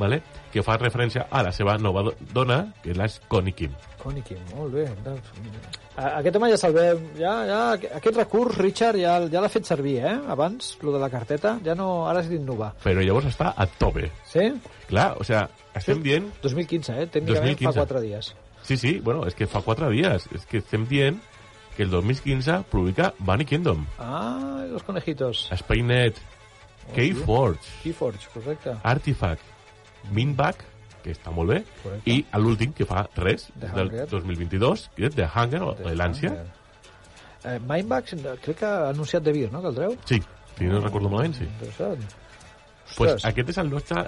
Speaker 3: ¿vale? que fa referència a la seva nova do- dona, que és la Connie Kim.
Speaker 2: Còniqui, molt bé. doncs, a- Aquest home ja salvem, ja, ja, aquest recurs, Richard, ja, ja l'ha fet servir, eh? Abans, lo de la carteta, ja no, ara és d'innovar.
Speaker 3: Però llavors està a tope.
Speaker 2: Sí?
Speaker 3: Clar, o sea, estem dient...
Speaker 2: 2015, eh? Tècnicament 2015. fa
Speaker 3: 2015.
Speaker 2: 4 dies.
Speaker 3: Sí, sí, bueno, és que fa quatre dies. És que estem dient que el 2015 publica Bunny Kingdom,
Speaker 2: Ah, los conejitos.
Speaker 3: Spainet, Keyforge,
Speaker 2: Keyforge, correcte.
Speaker 3: Artifact, Minback, que està molt bé,
Speaker 2: Correcte.
Speaker 3: i a l'últim, que fa res,
Speaker 2: The
Speaker 3: del
Speaker 2: Hunger.
Speaker 3: 2022, que és The Hunger, o l'ànsia.
Speaker 2: Eh, Mindbags, crec que ha anunciat de Vir, no, que el treu?
Speaker 3: Sí, si no recordo malament, sí.
Speaker 2: Interessant.
Speaker 3: Pues
Speaker 2: Ostres,
Speaker 3: aquest és el nostre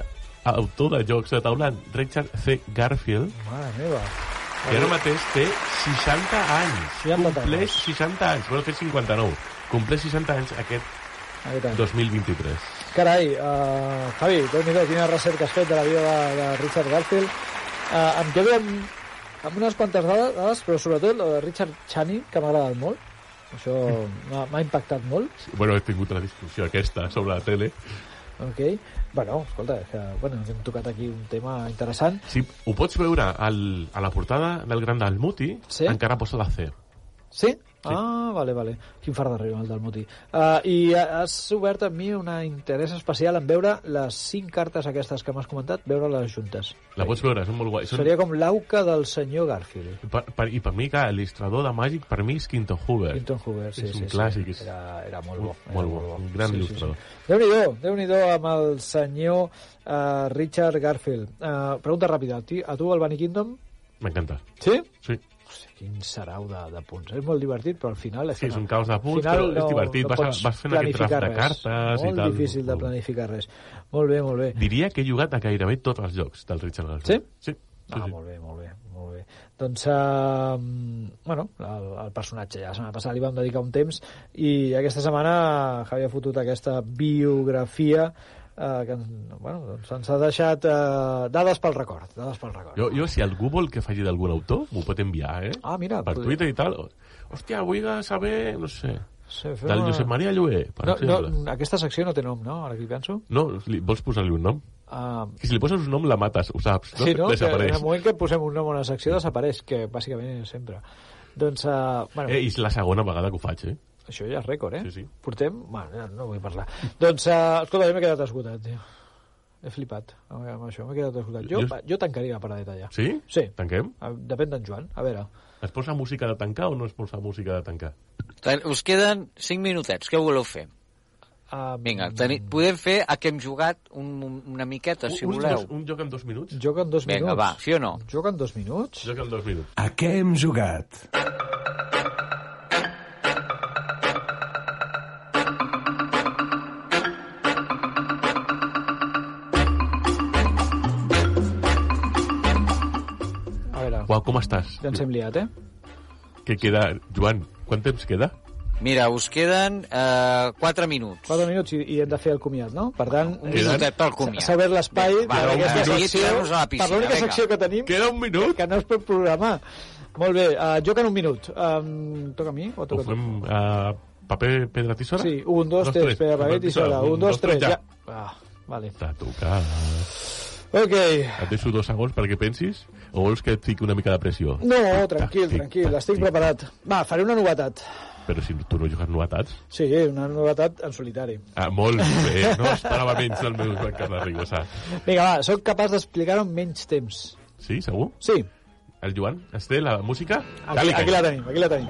Speaker 3: autor de jocs de taula, Richard C. Garfield,
Speaker 2: mare meva.
Speaker 3: que ara mateix té 60 anys.
Speaker 2: 60
Speaker 3: Compleix
Speaker 2: anys.
Speaker 3: 60 anys. Bueno, té 59. Compleix 60 anys aquest
Speaker 2: Aquest any.
Speaker 3: 2023.
Speaker 2: Carai, uh, Javi, déu-n'hi-do, quina recerca has fet de la vida de, de Richard Garfield. Uh, em quedo amb, amb unes quantes dades, dades, però sobretot la de Richard Chani, que m'ha agradat molt. Això m'ha m'ha impactat molt,
Speaker 3: Bueno, he tingut la discussió aquesta sobre la tele.
Speaker 2: ok? Bueno, escolta, és que, bueno, hem tocat aquí un tema interessant.
Speaker 3: Sí, ho pots veure al, a la portada del Gran Dalmuti,
Speaker 2: Sí.
Speaker 3: encara posa la C.
Speaker 2: Sí? Ah, vale, vale. Quin far d'arriba el del Muti. Uh, I has obert a mi un interès especial en veure les cinc cartes aquestes que m'has comentat, veure-les juntes.
Speaker 3: La pots veure, és molt guai. Són,
Speaker 2: Seria com l'auca del senyor Garfield.
Speaker 3: per, per, I per mi, clar, l'il·lustrador de Màgic, per mi és Quinton Hoover.
Speaker 2: Quinton Hoover, sí,
Speaker 3: És un
Speaker 2: sí,
Speaker 3: clàssic,
Speaker 2: Sí.
Speaker 3: és-
Speaker 2: Era, era molt bo.
Speaker 3: Molt,
Speaker 2: Era
Speaker 3: molt bo, un gran il·lustrador.
Speaker 2: Déu-n'hi-do, déu nhi déu amb el senyor uh, Richard Garfield. Uh, pregunta ràpida, a ti- a tu el Bunny Kingdom?
Speaker 3: M'encanta,
Speaker 2: Sí?
Speaker 3: sí.
Speaker 2: Hosti, quin sarau de, de punts. És molt divertit, però al final... És
Speaker 3: Sí,
Speaker 2: que
Speaker 3: és
Speaker 2: no.
Speaker 3: un caos de punts,
Speaker 2: Al final
Speaker 3: però és divertit. Vas a-
Speaker 2: pots
Speaker 3: vas fent aquest draft
Speaker 2: planificar
Speaker 3: de cartes i
Speaker 2: molt
Speaker 3: tal.
Speaker 2: Molt difícil de planificar res. Molt bé, molt bé.
Speaker 3: Diria que he jugat a gairebé tots els jocs del Richard Garfield. Sí? Sí.
Speaker 2: Ah, molt bé, molt bé, molt bé. Doncs, uh, bueno, el, el personatge ja la setmana passada li vam dedicar un temps i aquesta setmana Javi ha fotut aquesta biografia eh, que ens- bueno, doncs ens ha deixat eh, dades pel record, dades pel record.
Speaker 3: Jo, jo, si algú vol que faci d'algun autor, m'ho pot enviar, eh?
Speaker 2: Ah, mira,
Speaker 3: Per
Speaker 2: podria-
Speaker 3: Twitter i tal. Hòstia, vull saber, no sé,
Speaker 2: Sí, fem
Speaker 3: del
Speaker 2: una-
Speaker 3: Josep Maria Lluer, per
Speaker 2: no,
Speaker 3: exemple.
Speaker 2: no, aquesta secció no té nom, no? Ara que hi penso.
Speaker 3: No, li, vols posar-li un nom?
Speaker 2: Uh,
Speaker 3: Que si li poses un nom la mates, ho saps, no?
Speaker 2: sí, no? Que en
Speaker 3: Desapareix.
Speaker 2: el moment que posem un nom a una secció desapareix, que bàsicament és sempre. Doncs, uh, bueno,
Speaker 3: Eh, I és la segona vegada que ho faig, eh?
Speaker 2: això ja és rècord, eh?
Speaker 3: Sí, sí.
Speaker 2: Portem... Bueno, no, no vull parlar. doncs, uh, escolta, jo m'he quedat esgotat, tio. He flipat amb amb això, m'he quedat esgotat. Jo,
Speaker 3: Jo-
Speaker 2: va, jo tancaria la paradeta ja.
Speaker 3: Sí?
Speaker 2: Sí.
Speaker 3: Tanquem?
Speaker 2: Ah, Depèn d'en Joan, a veure.
Speaker 3: Es posa música de tancar o no es posa música de tancar?
Speaker 5: Ten- Us queden 5 minutets, què voleu fer?
Speaker 2: Uh,
Speaker 5: Vinga, teni... podem fer a què hem jugat un, una miqueta, si
Speaker 3: un, uns
Speaker 5: voleu.
Speaker 3: dos- un joc en dos minuts?
Speaker 2: Joc en dos
Speaker 5: Vinga,
Speaker 2: minuts.
Speaker 5: va, sí o no?
Speaker 2: Joc en dos minuts?
Speaker 3: Joc en dos minuts.
Speaker 1: A què hem jugat?
Speaker 2: A veure,
Speaker 3: Uau, com estàs?
Speaker 2: ja ens hem liat, eh?
Speaker 3: Què queda, Joan? Quant temps queda?
Speaker 5: Mira, us queden eh, 4 minuts.
Speaker 2: 4 minuts i, i hem de fer el comiat, no? Per tant,
Speaker 5: Un
Speaker 3: Queden-
Speaker 5: minutet pel comiat.
Speaker 2: saber l'espai
Speaker 5: Vinga, va,
Speaker 2: per
Speaker 5: un
Speaker 2: aquesta
Speaker 5: minut i
Speaker 2: secció,
Speaker 5: tirar-nos a la piscina,
Speaker 2: per l'única
Speaker 5: vinga.
Speaker 2: secció que tenim,
Speaker 3: Queda un minut?
Speaker 2: que no es pot programar. Molt bé, uh, joc en un minut. Um, toca a mi o
Speaker 3: Ho
Speaker 2: toca a tu?
Speaker 3: fem a paper, pedra, tisora?
Speaker 2: Sí, un, dos, tres, Pere Paguet i Sora. Un, dos, tres, ja. Ah, vale.
Speaker 3: T'ha tocat.
Speaker 2: Ok.
Speaker 3: Et deixo dos segons perquè pensis o vols que et fiqui una mica de pressió?
Speaker 2: No, tranquil, tranquil, estic preparat. Va, faré una novetat.
Speaker 3: Però si tu no jugues novetats...
Speaker 2: Sí, una novetat en solitari.
Speaker 3: Ah, molt bé, no esperava menys del meu Joan Carles Rigosa.
Speaker 2: Vinga, va, sóc capaç d'explicar-ho en menys temps.
Speaker 3: Sí, segur?
Speaker 2: Sí,
Speaker 3: El Joan, es té la música?
Speaker 2: aquí, aquí la tenim, aquí la tenim.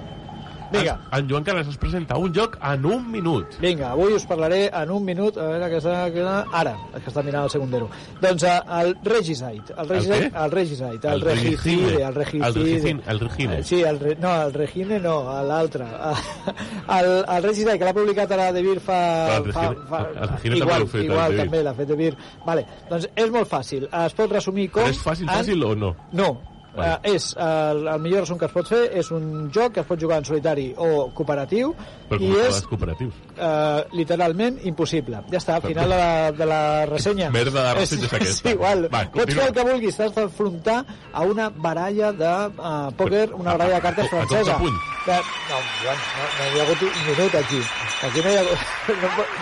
Speaker 2: Vinga.
Speaker 3: En Joan Carles us presenta un joc en un minut.
Speaker 2: Vinga, avui us parlaré en un minut, a veure que està, que està ara, és que està mirant el segundero. Doncs eh, el Regicide, el Regicide,
Speaker 3: què?
Speaker 2: el Regicide, el
Speaker 3: El
Speaker 2: Regicide,
Speaker 3: Regicide.
Speaker 2: el Regicide.
Speaker 3: El Regicide, el Regine.
Speaker 2: Eh, Sí, el, Re- no, el Regine no, l'altre. El, el Regicide, que l'ha publicat ara De Vir fa...
Speaker 3: Però Ah, el
Speaker 2: fa,
Speaker 3: Regine-
Speaker 2: fa
Speaker 3: el- el Regine també
Speaker 2: igual,
Speaker 3: l'ha fet, el
Speaker 2: igual,
Speaker 3: De Vir.
Speaker 2: també l'ha fet De Vir. Vale, doncs és molt fàcil, es pot resumir com...
Speaker 3: Però és fàcil,
Speaker 2: en-
Speaker 3: fàcil o no?
Speaker 2: no.
Speaker 3: Vale.
Speaker 2: Eh, és, eh, el, el millor resum que es pot fer és un joc que es pot jugar en solitari o cooperatiu
Speaker 3: Però
Speaker 2: i
Speaker 3: com és...
Speaker 2: és
Speaker 3: els cooperatius.
Speaker 2: eh, literalment impossible. Ja està, al final de la, de la ressenya.
Speaker 3: Merda de ressenya
Speaker 2: és,
Speaker 3: és aquesta.
Speaker 2: És igual.
Speaker 3: Va,
Speaker 2: Pots
Speaker 3: continua.
Speaker 2: fer el que vulguis, t'has d'enfrontar a una baralla de uh, pòquer,
Speaker 3: Però,
Speaker 2: una
Speaker 3: a-
Speaker 2: baralla de
Speaker 3: a-
Speaker 2: cartes
Speaker 3: a tot de
Speaker 2: francesa.
Speaker 3: puny.
Speaker 2: De... No, Joan, no, no hi ha hagut un minut aquí. Aquí no hi ha hagut... No, pot-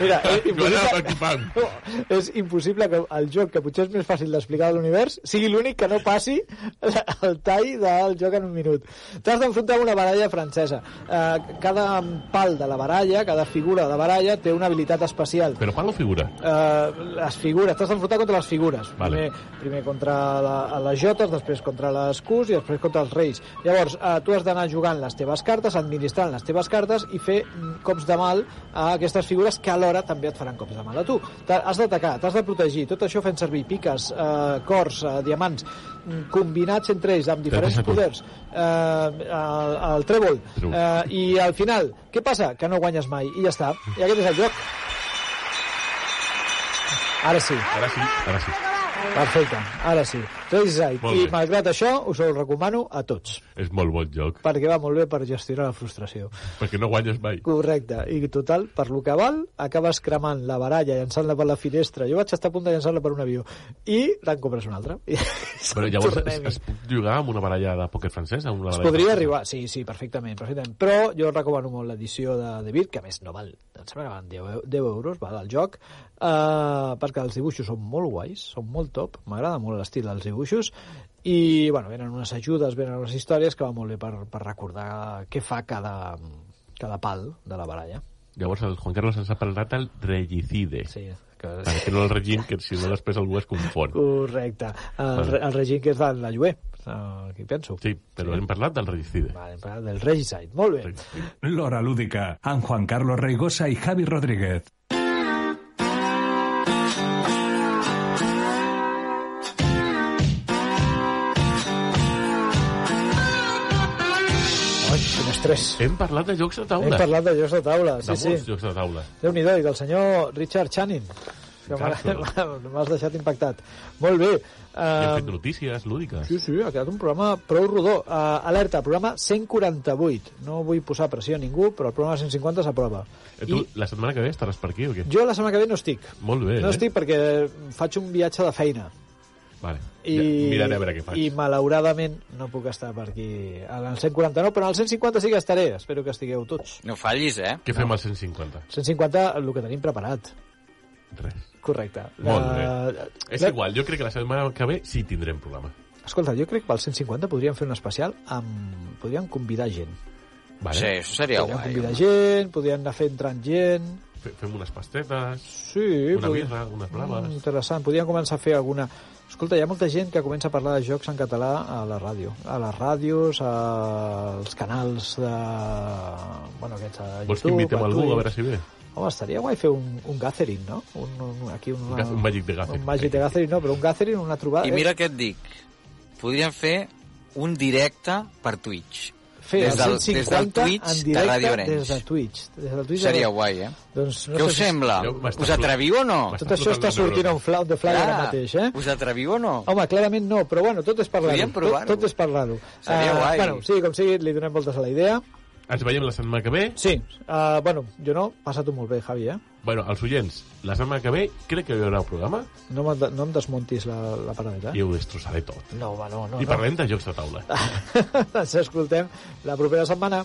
Speaker 2: Mira, eh,
Speaker 3: Joan
Speaker 2: impossible...
Speaker 3: anava equipant.
Speaker 2: No, és impossible que el joc, que potser és més fàcil d'explicar de l'univers, sigui l'únic que no passi el tall del joc en un minut. T'has d'enfrontar a una baralla francesa. Eh, cada pal de la baralla, cada figura de la baralla, té una habilitat especial.
Speaker 3: Però parla o figura?
Speaker 2: Eh, les figures, t'has d'enfrontar contra les figures
Speaker 3: Vale.
Speaker 2: primer, primer contra la, a les jotes després contra les cus i després contra els reis llavors eh, tu has d'anar jugant les teves cartes administrant les teves cartes i fer mm, cops de mal a aquestes figures que alhora també et faran cops de mal a tu T'ha- has d'atacar, t'has de protegir tot això fent servir piques, eh, cors eh, diamants, mm, combinats entre ells amb diferents
Speaker 3: deixa tu.
Speaker 2: poders eh, el, el trèvol
Speaker 3: Trèvol.
Speaker 2: eh, i al final, què passa? que no guanyes mai i ja està, i aquest és el joc Ara sí.
Speaker 3: Ara sí, ara sí.
Speaker 2: Perfecte, ara sí. Trailside.
Speaker 3: Molt
Speaker 2: I
Speaker 3: bé.
Speaker 2: malgrat això, us ho recomano a tots,
Speaker 3: És molt bon joc,
Speaker 2: perquè va molt bé per gestionar la frustració.
Speaker 3: perquè no guanyes mai.
Speaker 2: Correcte, i total, per lo que val, acabes cremant la baralla, llançant-la per la finestra. Jo vaig estar a punt de llançar-la per un avió. I te'n compres una altra. I
Speaker 3: Però llavors es,
Speaker 2: tornem-hi.
Speaker 3: es puc jugar amb una baralla de pòquer francès? Amb una
Speaker 2: Es
Speaker 3: baralla
Speaker 2: podria
Speaker 3: francesa?
Speaker 2: arribar, sí, sí, perfectament, perfectament. Però jo recomano molt l'edició de De Vir, que a més no val, em sembla que van 10, eu- 10 euros, va, del joc, eh, perquè els dibuixos són molt guais, són molt top, m'agrada molt l'estil dels dibuixos, i, bueno, venen unes ajudes, venen unes històries que va molt bé per, per recordar què fa cada, cada pal de la baralla.
Speaker 3: Llavors el Juan Carlos ens ha parlat del regicide. Sí.
Speaker 2: Sí, que...
Speaker 3: Perquè no el regim, que si no després algú es confon.
Speaker 2: Correcte. El, re- el regim que és de la Lluer, eh, aquí penso.
Speaker 3: Sí, però hem parlat del regicide.
Speaker 2: Vale, hem parlat del Regicide, molt bé.
Speaker 1: L'Hora Lúdica, amb Juan Carlos Reigosa i Javi Rodríguez.
Speaker 2: Ai, quin estrès.
Speaker 3: Hem parlat de jocs de taula.
Speaker 2: Hem parlat de jocs de taula,
Speaker 3: de
Speaker 2: sí,
Speaker 3: molts
Speaker 2: sí.
Speaker 3: jocs de taula.
Speaker 2: Déu-n'hi-do, i del senyor Richard Channing. Que m'ha-
Speaker 3: Exacte.
Speaker 2: M'has deixat impactat. Molt bé.
Speaker 3: I hem
Speaker 2: eh,
Speaker 3: fet notícies lúdiques.
Speaker 2: sí, sí, ha quedat un programa prou rodó. Eh, alerta, programa 148. No vull posar pressió a ningú, però el programa 150 s'aprova.
Speaker 3: Eh, tu, la setmana que ve estaràs per aquí o què?
Speaker 2: Jo la setmana que ve no estic.
Speaker 3: Molt bé,
Speaker 2: No
Speaker 3: eh?
Speaker 2: estic perquè faig un viatge de feina.
Speaker 3: Vale.
Speaker 2: I,
Speaker 3: I... Ja, miraré a veure què faig.
Speaker 2: I malauradament no puc estar per aquí al 149, però al 150 sí que estaré. Espero que estigueu tots.
Speaker 5: No fallis, eh?
Speaker 3: Què fem al 150?
Speaker 2: 150, el que tenim preparat.
Speaker 3: Res.
Speaker 2: Correcte.
Speaker 3: Molt
Speaker 2: Eh,
Speaker 3: bé. És
Speaker 2: la-
Speaker 3: igual, jo crec que la setmana que ve sí tindrem programa.
Speaker 2: Escolta, jo crec que pel 150 podríem fer un especial amb... podríem convidar gent.
Speaker 3: Vale?
Speaker 5: Sí, això seria
Speaker 2: Podríem
Speaker 5: guai. eh?
Speaker 2: convidar
Speaker 5: home.
Speaker 2: gent, podríem anar fent entrant gent...
Speaker 3: Fe- Fem unes pastetes,
Speaker 2: Sí,
Speaker 3: una
Speaker 2: podríem-
Speaker 3: birra, unes
Speaker 2: Mm,
Speaker 3: blaves...
Speaker 2: interessant, podríem començar a fer alguna... Escolta, hi ha molta gent que comença a parlar de jocs en català a la ràdio. A les ràdios, als canals de... Bueno, aquests a YouTube...
Speaker 3: Vols que invitem
Speaker 2: a
Speaker 3: algú
Speaker 2: Twitch.
Speaker 3: a veure si ve?
Speaker 2: Home, estaria guai fer un, un gathering, no? Un, un, aquí una,
Speaker 3: Un gath- un màgic de gathering.
Speaker 2: Un màgic de gathering, no, però un gathering, una trobada...
Speaker 5: I mira què et dic. Podríem fer un directe per Twitch.
Speaker 2: Fer
Speaker 5: des
Speaker 2: el
Speaker 5: del-
Speaker 2: 150
Speaker 5: des del Twitch
Speaker 2: en
Speaker 5: de
Speaker 2: directe
Speaker 5: Ràdio Arenys.
Speaker 2: Des de Twitch. Des del Twitch
Speaker 5: Seria
Speaker 2: de...
Speaker 5: guai, eh?
Speaker 2: Doncs no
Speaker 5: Què us
Speaker 2: sé si-
Speaker 5: sembla?
Speaker 3: Jo m'està
Speaker 5: Us atreviu o no?
Speaker 3: M'està
Speaker 2: Tot això
Speaker 3: flotant
Speaker 2: està
Speaker 3: el
Speaker 2: sortint
Speaker 3: neurona.
Speaker 2: a un flau de fly ara mateix, eh?
Speaker 5: Us atreviu o no?
Speaker 2: Home, clarament no, però bueno, tot és parlar-ho.
Speaker 5: Podríem
Speaker 2: Tot,
Speaker 5: provar-ho.
Speaker 2: tot és parlar-ho.
Speaker 5: Seria
Speaker 2: Eh,
Speaker 5: guai.
Speaker 2: Bueno, sí, com sigui, li donem voltes a la idea.
Speaker 3: Ens veiem la setmana que ve.
Speaker 2: Sí, uh, bueno, jo no, passa-t'ho molt bé, Javi, eh?
Speaker 3: Bueno, els oients, la setmana que ve crec que hi haurà un programa
Speaker 2: No, me, no em desmuntis la, la paradeta.
Speaker 3: i ho destrossaré tot.
Speaker 2: Ah. No, home, no, no.
Speaker 3: I parlem de jocs de taula.
Speaker 2: No. Ens escoltem la propera setmana.